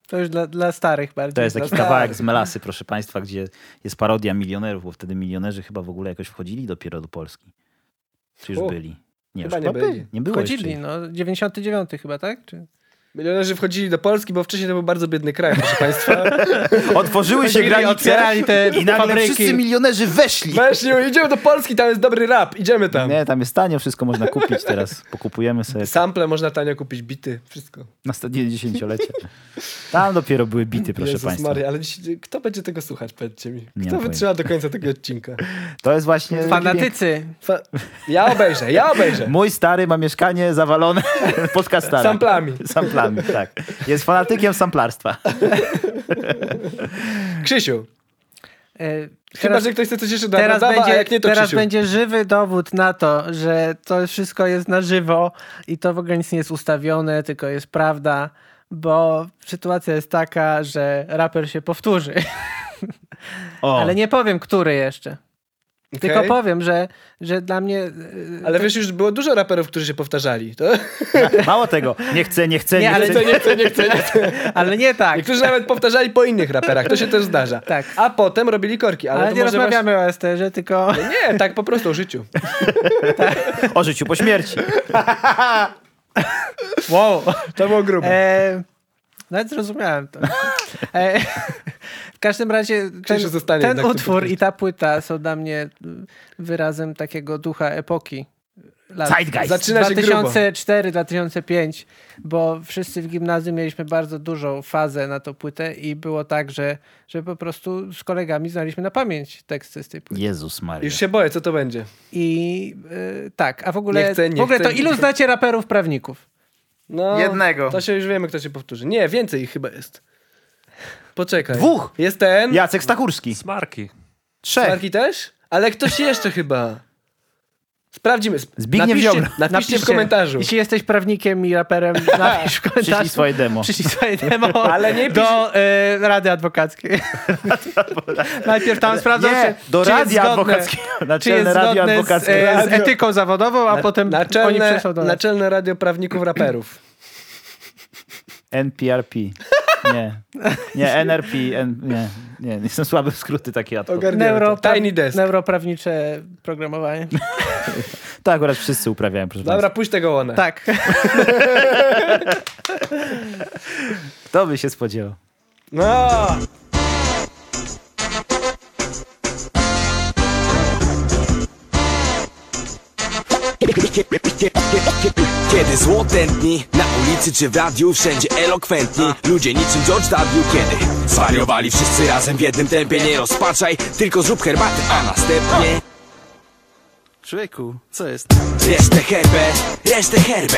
Speaker 3: to już dla, dla starych bardziej.
Speaker 1: To jest
Speaker 2: No tak.
Speaker 1: taki
Speaker 3: starych.
Speaker 1: kawałek z Melasy, proszę państwa, gdzie jest parodia milionerów, bo wtedy milionerzy chyba w ogóle jakoś wchodzili dopiero do Polski. Czy już U. byli?
Speaker 2: Nie, chyba już nie byli. byli.
Speaker 1: Nie było
Speaker 3: wchodzili,
Speaker 1: jeszcze.
Speaker 3: no, 99 chyba, tak? Czy...
Speaker 2: Milionerzy wchodzili do Polski, bo wcześniej to był bardzo biedny kraj, proszę państwa.
Speaker 1: Otworzyły się granice
Speaker 3: te
Speaker 1: i nagle fabryki. wszyscy milionerzy weszli.
Speaker 2: Weszli, idziemy do Polski, tam jest dobry rap, idziemy tam.
Speaker 1: Nie, tam jest tanio, wszystko można kupić teraz. Pokupujemy sobie.
Speaker 2: Sample można tanio kupić, bity, wszystko.
Speaker 1: Na stadionie dziesięciolecie. Tam dopiero były bity, proszę
Speaker 2: Jezus
Speaker 1: państwa.
Speaker 2: Maria, ale dziś, kto będzie tego słuchać, powiedzcie mi. Kto wytrzyma do końca tego odcinka?
Speaker 1: To jest właśnie...
Speaker 3: Fanatycy.
Speaker 2: Fa ja obejrzę, ja obejrzę.
Speaker 1: Mój stary ma mieszkanie zawalone podcastami.
Speaker 2: Samplami.
Speaker 1: Samplami, tak. Jest fanatykiem samplarstwa.
Speaker 2: Krzysiu. Chyba, teraz, że ktoś chce coś jeszcze dodać,
Speaker 3: E, teraz,
Speaker 2: dodawa,
Speaker 3: będzie,
Speaker 2: a jak nie, to
Speaker 3: teraz
Speaker 2: Krzysiu.
Speaker 3: będzie żywy dowód na to, że to wszystko jest na żywo i to w ogóle nic nie jest ustawione, tylko jest prawda, bo sytuacja jest taka, że raper się powtórzy.
Speaker 2: O.
Speaker 3: Ale nie powiem, który jeszcze.
Speaker 2: Okej.
Speaker 3: Tylko powiem, że, że dla mnie...
Speaker 2: Ale wiesz, już było dużo raperów, którzy się powtarzali. To...
Speaker 3: Tak.
Speaker 1: Mało tego, nie chcę, nie chcę, nie,
Speaker 2: Nie, ale
Speaker 1: chcę.
Speaker 2: to nie chcę, nie chcę, nie chcę.
Speaker 3: Ale nie tak.
Speaker 2: Niektórzy nawet powtarzali po innych raperach, to się też zdarza.
Speaker 3: Tak.
Speaker 2: A potem robili korki, ale,
Speaker 3: Ale,
Speaker 2: to
Speaker 3: nie
Speaker 2: może
Speaker 3: rozmawiamy o Esterze, tylko...
Speaker 2: Właśnie... Nie, tak po prostu o życiu.
Speaker 1: O życiu po śmierci.
Speaker 2: Tak,
Speaker 3: Wow.
Speaker 2: To było grube.
Speaker 3: E, nawet zrozumiałem to. E, w każdym razie ten,
Speaker 2: Krzysiu zostanie
Speaker 3: ten
Speaker 2: jednak w tym
Speaker 3: utwór
Speaker 2: podcaście.
Speaker 3: i ta płyta są dla mnie wyrazem takiego ducha epoki. Lat
Speaker 1: Zeitgeist.
Speaker 2: Zaczyna się grubo.
Speaker 3: 2004-2005, bo wszyscy w gimnazjum mieliśmy bardzo dużą fazę na tą płytę i było tak, że, że po prostu z kolegami znaliśmy na pamięć teksty z tej płyty.
Speaker 1: Jezus Maria.
Speaker 2: Już się boję, co to będzie.
Speaker 3: I e, tak, a w ogóle,
Speaker 2: Nie chcę, nie
Speaker 3: w ogóle
Speaker 2: chcę,
Speaker 3: to
Speaker 2: nie
Speaker 3: ilu
Speaker 2: chcę.
Speaker 3: znacie raperów prawników?
Speaker 2: No,
Speaker 1: Jednego.
Speaker 2: To się już wiemy, kto się powtórzy. Nie, więcej ich chyba jest. Poczekaj.
Speaker 1: Dwóch.
Speaker 2: Jest ten.
Speaker 1: Jacek Stachurski.
Speaker 10: Smarki.
Speaker 1: Trzech.
Speaker 2: Marki też? Ale ktoś jeszcze chyba. Sprawdzimy. Sp-
Speaker 1: Zbigniew
Speaker 2: napiszcie,
Speaker 1: Ziobro.
Speaker 2: napiszcie, w komentarzu.
Speaker 3: Jeśli jesteś prawnikiem i raperem, napisz w komentarzu.
Speaker 1: Przyszli swoje demo.
Speaker 3: Przyszli swoje demo
Speaker 2: Ale nie pisz-
Speaker 3: do e, Rady Adwokackiej. Najpierw tam sprawdzą,
Speaker 1: Nie,
Speaker 3: czy,
Speaker 1: do
Speaker 3: czy jest
Speaker 1: radia
Speaker 3: zgodne-
Speaker 1: adwokackiego.
Speaker 3: Czy
Speaker 1: Naczelne
Speaker 3: jest
Speaker 1: radio
Speaker 3: zgodne z,
Speaker 1: adwokackie.
Speaker 3: e, z
Speaker 2: Radio-
Speaker 3: etyką zawodową, a potem oni
Speaker 2: Naczelne,
Speaker 3: przyszą do nas.
Speaker 2: naczelne radio prawników raperów.
Speaker 1: NPRP. Nie. Nie, NRP. N... Nie. nie, jestem słaby w skróty takie ad hoc.
Speaker 2: Ogarniemy
Speaker 3: Neuro,
Speaker 2: to. Tiny desk.
Speaker 3: Neuroprawnicze programowanie.
Speaker 1: To Tak, akurat wszyscy uprawiają, proszę
Speaker 2: Dobra,
Speaker 1: Państwa.
Speaker 2: puść tego one.
Speaker 3: Tak.
Speaker 1: To by się spodziewał.
Speaker 2: No.
Speaker 5: Kiedy złote dni Na ulicy czy w radiu Wszędzie elokwentni Ludzie niczym George W Kiedy zwariowali wszyscy razem W jednym tempie Nie rozpaczaj Tylko zrób herbatę A następnie
Speaker 6: Człowieku, co jest?
Speaker 5: Resztę herbę, resztę herbę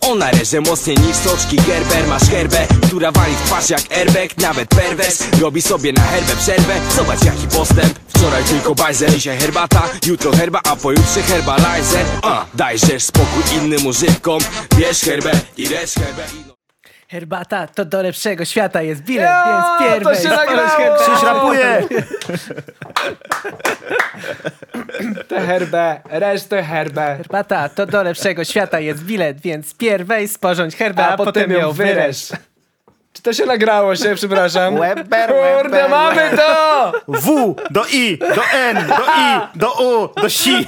Speaker 5: Ona reże mocniej niż soczki Gerber Masz herbę, która wali w twarz jak airbag Nawet perwers robi sobie na herbę przerwę Zobacz jaki postęp Wczoraj tylko bajzer, dzisiaj herbata Jutro herba, a pojutrze herbalizer A, dajżesz spokój innym używkom Bierz herbę i resz herbę i... no.
Speaker 3: Herbata to do lepszego świata jest bilet,
Speaker 2: Ja,
Speaker 3: więc pierwej.
Speaker 2: to się nagrało!
Speaker 1: Krzyś rapuje!
Speaker 2: Tę herbę, resztę herbę.
Speaker 3: Herbata to do lepszego świata jest bilet, więc pierwej sporządź herbę,
Speaker 2: A, potem ją wyresz. Czy to się nagrało się, przepraszam?
Speaker 1: Weber,
Speaker 2: Kurde,
Speaker 1: Weber,
Speaker 2: mamy to!
Speaker 1: W do I, do N, do I, do U, do Si.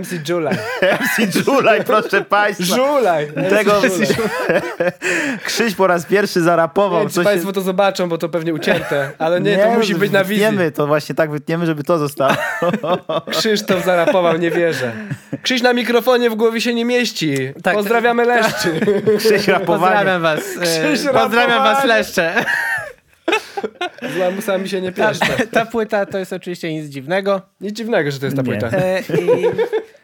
Speaker 2: MC Julaj.
Speaker 1: MC Żulaj, proszę Państwa.
Speaker 2: Żulaj!
Speaker 1: Tego
Speaker 2: MC Żulaj.
Speaker 1: Krzyś po raz pierwszy
Speaker 2: Nie
Speaker 1: zarapował.
Speaker 2: wiem, czy
Speaker 1: coś-
Speaker 2: Państwo to zobaczą, bo to pewnie ucięte, ale nie, to musi być na wizji.
Speaker 1: no, Wytniemy to właśnie tak wytniemy, żeby to zostało.
Speaker 2: Krzysztof zarapował, nie wierzę. Krzyś na mikrofonie w głowie się nie mieści.
Speaker 3: Tak.
Speaker 2: Pozdrawiamy Leszczy.
Speaker 1: Krzyś rapowanie.
Speaker 3: Pozdrawiam was. e,
Speaker 2: Krzyż
Speaker 3: Pozdrawiam was
Speaker 2: rapowanie.
Speaker 3: leszcze.
Speaker 2: Z lamusami się nie
Speaker 3: Ta,
Speaker 2: pieszczę.
Speaker 3: ta płyta to jest oczywiście nic dziwnego.
Speaker 2: Nic dziwnego, że to jest ta
Speaker 1: Nie.
Speaker 2: płyta.
Speaker 3: E,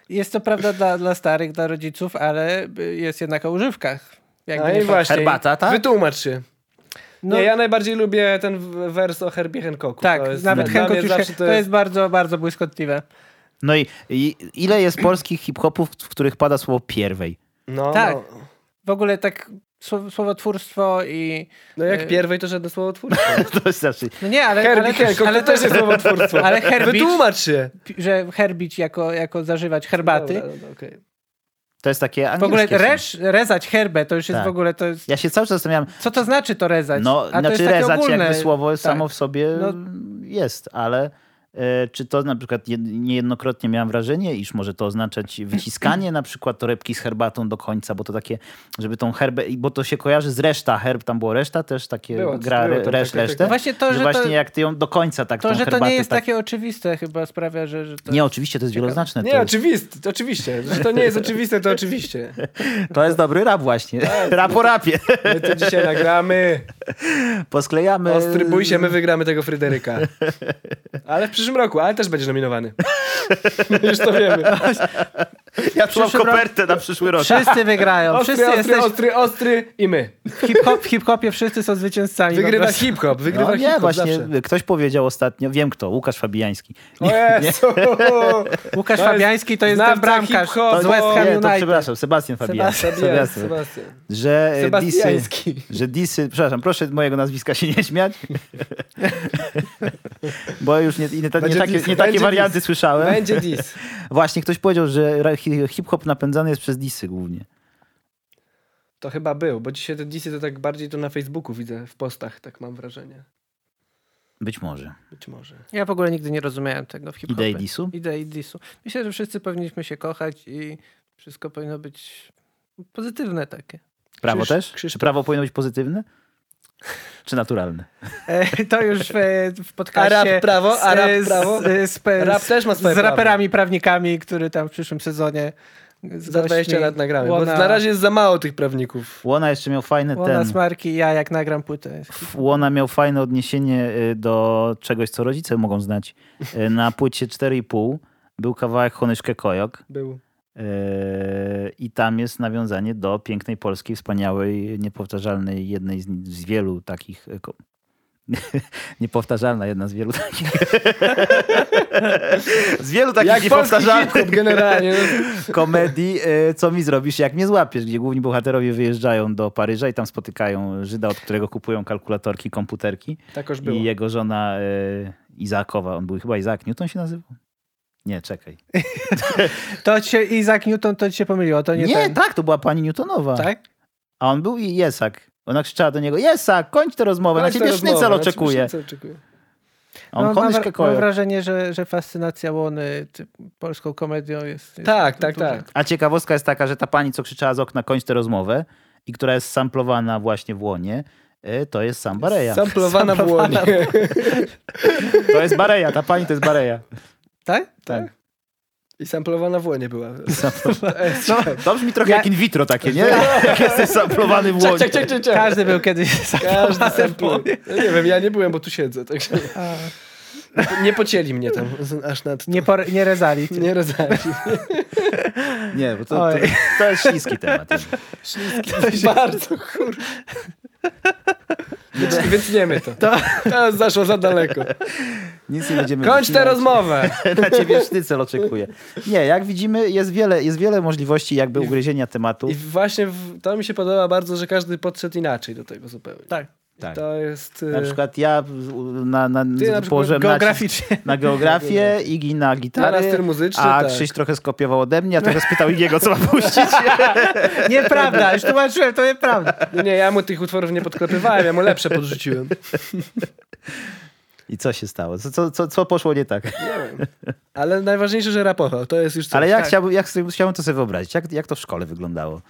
Speaker 3: i jest to prawda dla, dla starych, dla rodziców, ale y, jest jednak o używkach. Jakby
Speaker 2: No
Speaker 3: nie
Speaker 2: i
Speaker 3: patrzeć.
Speaker 2: właśnie.
Speaker 1: Herbata, tak?
Speaker 2: Wytłumacz się.
Speaker 3: No,
Speaker 2: Nie, ja najbardziej lubię ten w- wers o Herbie Hancocku.
Speaker 3: Tak,
Speaker 2: To jest-
Speaker 3: nawet
Speaker 2: dla mnie
Speaker 3: Hancock już
Speaker 2: zawsze
Speaker 3: to, to jest bardzo, bardzo błyskotliwe.
Speaker 1: No i, i ile jest polskich hip-hopów, w których pada słowo pierwej?
Speaker 2: No,
Speaker 3: Tak.
Speaker 2: no.
Speaker 3: W ogóle tak słow- słowotwórstwo i...
Speaker 2: no jak
Speaker 3: E,
Speaker 2: pierwej to żadne słowo twórstwo.
Speaker 1: To jest znaczy,
Speaker 3: No nie, ale...
Speaker 2: Herbie
Speaker 3: ale
Speaker 2: Hancock to też jest słowo twórstwo.
Speaker 3: Ale herbicz,
Speaker 2: Wytłumacz się.
Speaker 3: że herbić jako, jako zażywać herbaty.
Speaker 2: Dobra, dobra, okej.
Speaker 1: to jest takie
Speaker 3: W ogóle
Speaker 1: angielskie. słowo.
Speaker 3: resz, rezać herbę to już jest
Speaker 1: Tak.
Speaker 3: w ogóle... to jest,
Speaker 1: Ja się cały czas zastanawiam,
Speaker 3: Co to znaczy to rezać?
Speaker 1: no,
Speaker 3: to
Speaker 1: znaczy
Speaker 3: jest takie
Speaker 1: rezać
Speaker 3: ogólne,
Speaker 1: jakby słowo
Speaker 3: tak.
Speaker 1: samo w sobie
Speaker 3: No.
Speaker 1: jest, ale e, czy to na przykład jed- niejednokrotnie miałem wrażenie, iż może to oznaczać wyciskanie na przykład torebki z herbatą do końca, bo to takie, żeby tą herbę, i bo to się kojarzy z reszta, herb tam było reszta, też takie
Speaker 2: Było,
Speaker 1: gra
Speaker 2: było
Speaker 1: re,
Speaker 2: tam
Speaker 1: resz,
Speaker 2: takie-
Speaker 1: resztę,
Speaker 3: No Właśnie to, że
Speaker 1: właśnie
Speaker 3: to-
Speaker 1: jak ty ją do końca tak
Speaker 3: To,
Speaker 1: tą
Speaker 3: że to
Speaker 1: herbatę
Speaker 3: nie jest
Speaker 1: tak...
Speaker 3: takie oczywiste chyba sprawia, że, że to...
Speaker 1: Nie, oczywiście to jest wieloznaczne.
Speaker 2: Nie,
Speaker 1: to, jest,
Speaker 2: oczywiste, oczywiście. Że to nie jest oczywiste, to oczywiście.
Speaker 1: to jest dobry rap właśnie. Rap o rapie.
Speaker 2: My to dzisiaj nagramy.
Speaker 1: Posklejamy.
Speaker 2: Ostry bój się, my wygramy tego Fryderyka. Ale w przyszłym roku, ale też będzie nominowany. Już to wiemy.
Speaker 1: Ja tu mam kopertę na przyszły rok.
Speaker 3: Wszyscy wygrają.
Speaker 2: Ostry,
Speaker 3: No, wszyscy
Speaker 2: ostry,
Speaker 3: jesteś-
Speaker 2: ostry, ostry i my.
Speaker 3: W hip-hop, w hip-hopie wszyscy są zwycięzcami.
Speaker 2: Wygrywa
Speaker 3: po prostu.
Speaker 2: hip-hop, wygrywa
Speaker 1: No, nie,
Speaker 2: hip-hop
Speaker 1: właśnie
Speaker 2: zawsze.
Speaker 1: ktoś powiedział ostatnio, wiem kto, Łukasz Fabiański.
Speaker 2: O Jezu!
Speaker 3: Łukasz
Speaker 2: To jest
Speaker 3: Fabiański to jest ten
Speaker 2: znawca
Speaker 3: bramkarz
Speaker 2: hip-hopu.
Speaker 3: z West
Speaker 1: nie,
Speaker 3: Ham
Speaker 1: to
Speaker 3: United.
Speaker 1: przepraszam, Sebastian Fabiański.
Speaker 3: Sebastian,
Speaker 2: Sebastian.
Speaker 1: Że e, disy,
Speaker 2: Sebastiański.
Speaker 1: że disy, przepraszam, proszę mojego nazwiska się nie śmiać, bo już nie, nie, nie,
Speaker 2: Będzie
Speaker 1: takie,
Speaker 2: dis,
Speaker 1: nie takie
Speaker 2: będzie
Speaker 1: warianty
Speaker 2: dis.
Speaker 1: słyszałem.
Speaker 2: Będzie dis.
Speaker 1: Właśnie ktoś powiedział, że ra- hi- hip-hop napędzany jest przez disy głównie.
Speaker 2: To chyba był, bo dzisiaj te disy to tak bardziej to na Facebooku widzę, w postach, tak mam wrażenie.
Speaker 1: Być może.
Speaker 2: Być może.
Speaker 3: Ja w ogóle nigdy nie rozumiałem tego w hip-hopie.
Speaker 1: Idei disu?
Speaker 3: Idei disu. Myślę, że wszyscy powinniśmy się kochać i wszystko powinno być pozytywne takie.
Speaker 1: Prawo
Speaker 3: Krzyż-
Speaker 1: też? Czy prawo powinno być pozytywne? Czy naturalne?
Speaker 3: E, To już e, w podcaście.
Speaker 2: A rap prawo? A
Speaker 3: z-
Speaker 2: rap
Speaker 3: z-
Speaker 2: prawo?
Speaker 3: z- z- pe-
Speaker 2: Rap też ma swoje
Speaker 3: Z raperami, prawnikami, który tam w przyszłym sezonie. z
Speaker 2: Za 20
Speaker 3: gośćmi
Speaker 2: lat nagramy, bo
Speaker 3: Łona-
Speaker 2: na razie jest za mało tych prawników.
Speaker 1: Łona jeszcze miał fajny
Speaker 3: Łona
Speaker 1: ten...
Speaker 3: Smarki i ja, jak nagram płytę.
Speaker 1: Łona miał fajne odniesienie y, do czegoś, co rodzice mogą znać. Y, Na płycie 4,5 był kawałek Honyszkę Kojok
Speaker 2: Był.
Speaker 1: y, i tam jest nawiązanie do pięknej polskiej, wspaniałej, niepowtarzalnej, jednej z, z wielu takich... y, ko- Niepowtarzalna, jedna z wielu takich. z wielu takich
Speaker 2: Jak polski hip-hop
Speaker 1: niepowtarzalnych
Speaker 2: generalnie. no.
Speaker 1: komedii, y, co mi zrobisz, jak mnie złapiesz, gdzie główni bohaterowie wyjeżdżają do Paryża i tam spotykają Żyda, od którego kupują kalkulatorki, komputerki.
Speaker 2: Tak już było.
Speaker 1: I jego żona y, Izakowa, on był chyba Izak Newton się nazywał? Nie, czekaj.
Speaker 3: To cię Isaac Newton to ci się pomyliło, to nie,
Speaker 1: Nie,
Speaker 3: ten.
Speaker 1: tak, to była pani Newtonowa.
Speaker 3: Tak?
Speaker 1: A on był i Jesak. Ona krzyczała do niego, Jesak, kończ tę rozmowę,
Speaker 2: Kończ
Speaker 1: na
Speaker 2: tę
Speaker 1: ciebie
Speaker 2: rozmowę,
Speaker 1: sznycel
Speaker 2: na ciebie
Speaker 1: oczekuje.
Speaker 2: sznycel oczekuje.
Speaker 1: A on no,
Speaker 3: mam,
Speaker 1: koniszkę
Speaker 3: wra- mam
Speaker 1: koją.
Speaker 3: wrażenie, że, że fascynacja Łony ty, polską komedią jest. jest
Speaker 2: Tak,
Speaker 3: du-
Speaker 2: tak,
Speaker 3: duża.
Speaker 2: tak.
Speaker 1: A ciekawostka jest taka, że ta pani, co krzyczała z okna, kończ tę rozmowę i która jest samplowana właśnie w łonie, y, to jest sam Bareja.
Speaker 2: Samplowana w łonie.
Speaker 1: To jest Bareja, ta pani to jest Bareja.
Speaker 3: Tak?
Speaker 1: Tak.
Speaker 2: I samplowana w łonie była.
Speaker 1: No, to brzmi trochę
Speaker 3: Ja-
Speaker 1: jak in vitro takie, nie? Jak jesteś samplowany w
Speaker 2: Czek,
Speaker 1: łonie.
Speaker 2: czek, czek, czek, czek.
Speaker 3: Każdy był kiedyś
Speaker 2: Każdy sampluje.
Speaker 3: samplowany.
Speaker 2: Ja No nie wiem, ja nie byłem, bo tu siedzę, także... Nie pocięli mnie tam z- aż nad...
Speaker 3: Nie, por- nie rezali. cię.
Speaker 2: Nie rozdali.
Speaker 1: Nie, bo to, to,
Speaker 3: Oj.
Speaker 1: to jest śliski temat.
Speaker 2: Bardzo, kur... Więc- Wytniemy to. to. To zaszło za daleko.
Speaker 1: Nic nie będziemy
Speaker 2: Kończ tę
Speaker 1: wycinać.
Speaker 2: rozmowę.
Speaker 1: Na ciebie sznycel oczekuje. Nie, jak widzimy, jest wiele, jest wiele możliwości jakby ugryzienia tematu.
Speaker 2: I właśnie w, to mi się podoba bardzo, że każdy podszedł inaczej do tego zupełnie.
Speaker 3: Tak.
Speaker 1: Tak.
Speaker 2: To jest... e,
Speaker 1: Na przykład ja u- na, na,
Speaker 2: Ty na przykład
Speaker 1: położyłem nacisk
Speaker 3: Geograficznie.
Speaker 1: na geografię, Igi na gitarę,
Speaker 2: Ja na styl muzyczny,
Speaker 1: a
Speaker 2: tak.
Speaker 1: Krzyś trochę skopiował ode mnie, a trochę spytał Igiego, co ma puścić.
Speaker 3: Nieprawda, już tłumaczyłem, to nieprawda.
Speaker 2: Nie, ja mu tych utworów nie podklepywałem, ja mu lepsze podrzuciłem.
Speaker 1: I co się stało? Co- Co, co, co poszło nie tak?
Speaker 2: Ale najważniejsze, że rapował. To jest już coś.
Speaker 1: Ale ja
Speaker 2: Tak.
Speaker 1: chciałbym, jak sobie, chciałbym to sobie wyobrazić. Jak, jak to w szkole wyglądało?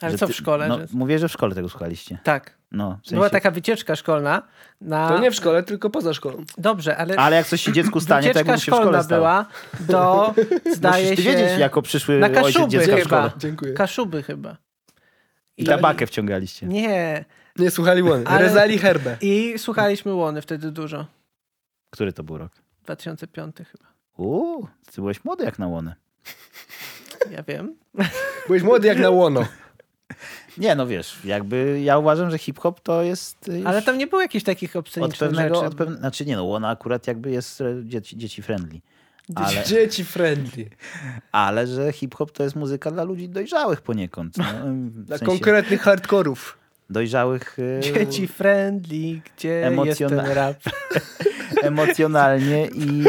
Speaker 3: Ale
Speaker 1: Że
Speaker 3: co
Speaker 1: ty-
Speaker 3: w szkole?
Speaker 1: No,
Speaker 3: że...
Speaker 1: mówię, że w szkole tego słuchaliście.
Speaker 3: Tak.
Speaker 1: No, w
Speaker 3: Była
Speaker 1: sensie,
Speaker 3: taka wycieczka szkolna. Na...
Speaker 2: To nie w szkole, tylko poza szkołą.
Speaker 3: Dobrze, ale,
Speaker 1: Ale jak coś się dziecku stanie, to
Speaker 3: wycieczka
Speaker 1: jakby mu się w
Speaker 3: szkolna
Speaker 1: szkole stało. No,
Speaker 3: była do, zdaje
Speaker 1: Musisz ty
Speaker 3: się,
Speaker 1: wiedzieć, jako przyszły
Speaker 3: na
Speaker 1: ojciec
Speaker 3: Kaszuby
Speaker 1: dziecka w
Speaker 3: chyba.
Speaker 1: szkole.
Speaker 2: Dziękuję.
Speaker 3: Kaszuby chyba.
Speaker 1: I tabakę wciągaliście.
Speaker 3: Nie.
Speaker 2: Nie słuchali łony.
Speaker 3: Ale-
Speaker 2: Rezali herbę.
Speaker 3: I słuchaliśmy Łony wtedy dużo.
Speaker 1: Który to był rok?
Speaker 3: 2005 chyba.
Speaker 1: Uuu, ty byłeś młody jak na łonę.
Speaker 3: Ja wiem.
Speaker 2: Byłeś młody jak na łono.
Speaker 1: Nie, no wiesz, jakby ja uważam, że hip-hop to jest y, już
Speaker 3: Ale tam nie było jakichś takich
Speaker 1: od
Speaker 3: obscenicznych
Speaker 1: pewnego,
Speaker 3: rzeczy.
Speaker 1: od pewne, znaczy nie no, łona akurat jakby jest e, dzieci, dzieci friendly. Ale,
Speaker 2: Dzieci friendly.
Speaker 1: ale że hip-hop to jest muzyka dla ludzi dojrzałych poniekąd. No, w
Speaker 2: Dla
Speaker 1: sensie
Speaker 2: konkretnych hardkorów.
Speaker 1: Dojrzałych y,
Speaker 3: Dzieci friendly, gdzie jest
Speaker 1: Emocjona-
Speaker 3: ten rap?
Speaker 1: emocjonalnie i...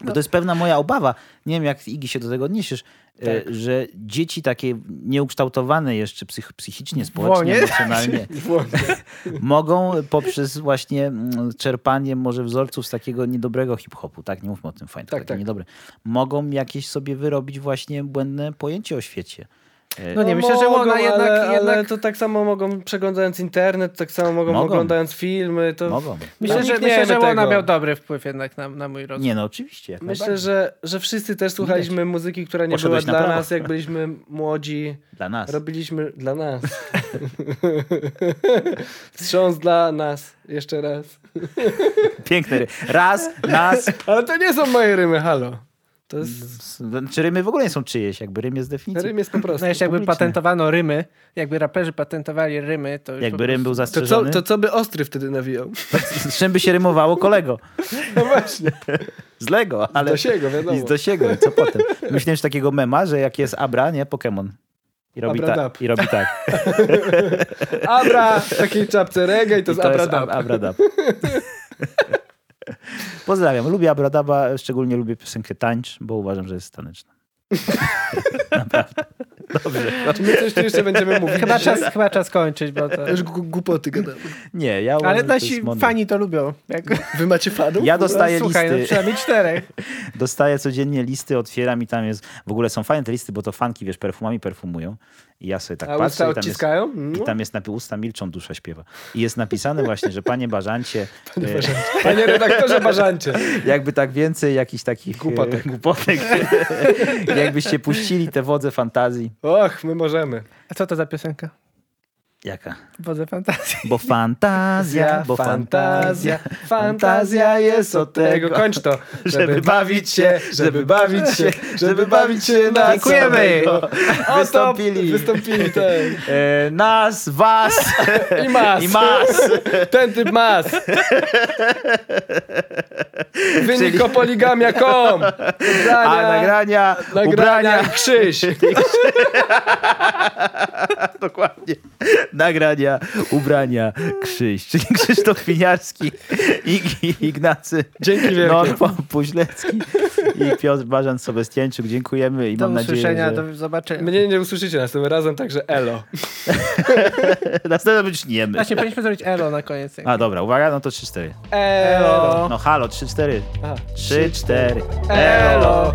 Speaker 1: Bo to jest pewna moja obawa, nie wiem jak Igi się do tego odniesiesz, e,
Speaker 3: Tak.
Speaker 1: że dzieci takie nieukształtowane jeszcze psych, psychicznie, społecznie,
Speaker 3: Włonie?
Speaker 1: emocjonalnie mogą poprzez właśnie mm, czerpanie może wzorców z takiego niedobrego hip-hopu, tak, nie mówmy o tym fajnie, tak,
Speaker 2: Tak,
Speaker 1: takie
Speaker 2: tak.
Speaker 1: niedobre, mogą jakieś sobie wyrobić właśnie błędne pojęcie o świecie. E,
Speaker 3: No nie, myślę, że
Speaker 2: mogą,
Speaker 3: ona jednak...
Speaker 2: ale, ale
Speaker 3: jednak...
Speaker 2: to tak samo mogą przeglądając internet, tak samo mogą,
Speaker 1: Mogą.
Speaker 2: oglądając filmy. To
Speaker 1: Mogą.
Speaker 3: Myślę, że,
Speaker 2: Unikniemy
Speaker 3: myślę, że Łona
Speaker 2: tego.
Speaker 3: miał dobry wpływ jednak na, na mój rozwój.
Speaker 1: Nie, no oczywiście. Jak
Speaker 3: tak.
Speaker 2: Myślę,
Speaker 1: najbardziej.
Speaker 2: że, że wszyscy też słuchaliśmy muzyki, która nie
Speaker 1: Poszedłeś na
Speaker 2: była dla
Speaker 1: prawo.
Speaker 2: nas, jak byliśmy młodzi.
Speaker 1: Dla nas.
Speaker 2: Robiliśmy dla nas. Wstrząs dla nas. Jeszcze raz.
Speaker 1: piękne rymy. Raz, nas.
Speaker 2: Ale to nie są moje rymy, halo. To jest...
Speaker 1: No, Czy rymy w ogóle nie są czyjeś? Jakby rym jest definicją.
Speaker 2: Rym jest po prostu.
Speaker 3: No jeszcze jakby patentowano rymy, jakby raperzy patentowali rymy, to już
Speaker 1: Jakby rym był
Speaker 2: To co,
Speaker 1: zastrzeżony.
Speaker 2: to co by ostry wtedy nawijał?
Speaker 1: Z czym by się rymowało kolego?
Speaker 2: No właśnie.
Speaker 1: Z Lego, ale...
Speaker 2: Do siego, wiadomo.
Speaker 1: I z dosiego, i co potem? Myślę, że takiego mema, że jak jest Abra, nie? Pokémon. I robi,
Speaker 2: Abra
Speaker 1: ta,
Speaker 2: dab.
Speaker 1: I robi tak.
Speaker 2: Abra w takiej czapce reggae i to
Speaker 1: I
Speaker 2: z Abra
Speaker 1: Ab-
Speaker 2: Dab.
Speaker 1: Abradab. Pozdrawiam. Lubię Abradaba, szczególnie lubię piosenkę Tańcz, bo uważam, że jest taneczna.
Speaker 2: Czy my coś tu jeszcze będziemy mówić?
Speaker 3: Chyba czas, chyba czas kończyć, bo to...
Speaker 2: Już gu- głupoty gadamy.
Speaker 1: Nie, ja uważam,
Speaker 3: Ale
Speaker 1: że to
Speaker 3: nasi
Speaker 1: jest mądre.
Speaker 3: fani to lubią. Jak...
Speaker 2: Wy macie fanów?
Speaker 1: Ja dostaję
Speaker 3: Słuchaj, no
Speaker 1: listy.
Speaker 3: przynajmniej czterech.
Speaker 1: Dostaję codziennie listy, otwieram i tam jest... W ogóle są fajne te listy, bo to fanki, wiesz, perfumami perfumują. I ja sobie tak
Speaker 2: A
Speaker 1: patrzę
Speaker 2: usta
Speaker 1: i tam jest...
Speaker 2: odciskają?
Speaker 1: I tam jest napis, usta milczą, dusza śpiewa. I jest napisane właśnie, że panie Bażancie... e,
Speaker 2: Panie redaktorze Barzancie.
Speaker 1: jakby tak więcej jakichś takich e,
Speaker 2: Głupotek.
Speaker 1: głupotek. Jakbyście puścili te wodze fantazji.
Speaker 2: Och, my możemy.
Speaker 3: A co to za piosenka?
Speaker 1: Jaka?
Speaker 3: Wodze fantazji.
Speaker 1: Bo fantazja, bo fantazja,
Speaker 2: Fantazja jest od tego. Kończ to. Żeby bawić się, żeby bawić się, żeby bawić się na
Speaker 1: Dziękujemy.
Speaker 2: samego.
Speaker 1: Wystąpili.
Speaker 2: Wystąpili ten.
Speaker 1: E, nas, was
Speaker 2: I mas.
Speaker 1: i mas.
Speaker 2: Ten typ mas.
Speaker 1: Czyli-
Speaker 2: Wynikopoligamia.com
Speaker 1: A
Speaker 2: Nagrania,
Speaker 1: nagrania,
Speaker 2: nagrania
Speaker 1: ubrania,
Speaker 2: i krzyż.
Speaker 1: dokładnie. Nagrania, ubrania, Krzyś, czyli Krzysztof Piniarski, Ig- Ignacy
Speaker 2: Dzięki wielkie.
Speaker 1: Norpo Puźlecki i Piotr Barzan Sobestiańczyk. Dziękujemy i
Speaker 3: Do
Speaker 1: mam nadzieję,
Speaker 3: usłyszenia,
Speaker 1: że...
Speaker 3: do zobaczenia.
Speaker 2: Mnie nie usłyszycie następnym razem, także elo.
Speaker 1: Następnym być niemy.
Speaker 3: Właśnie powinniśmy zrobić elo na koniec.
Speaker 1: A dobra, uwaga, no to 3-4.
Speaker 2: Elo.
Speaker 1: No halo, 3-4.
Speaker 2: Aha.
Speaker 1: 3-4.
Speaker 2: Elo.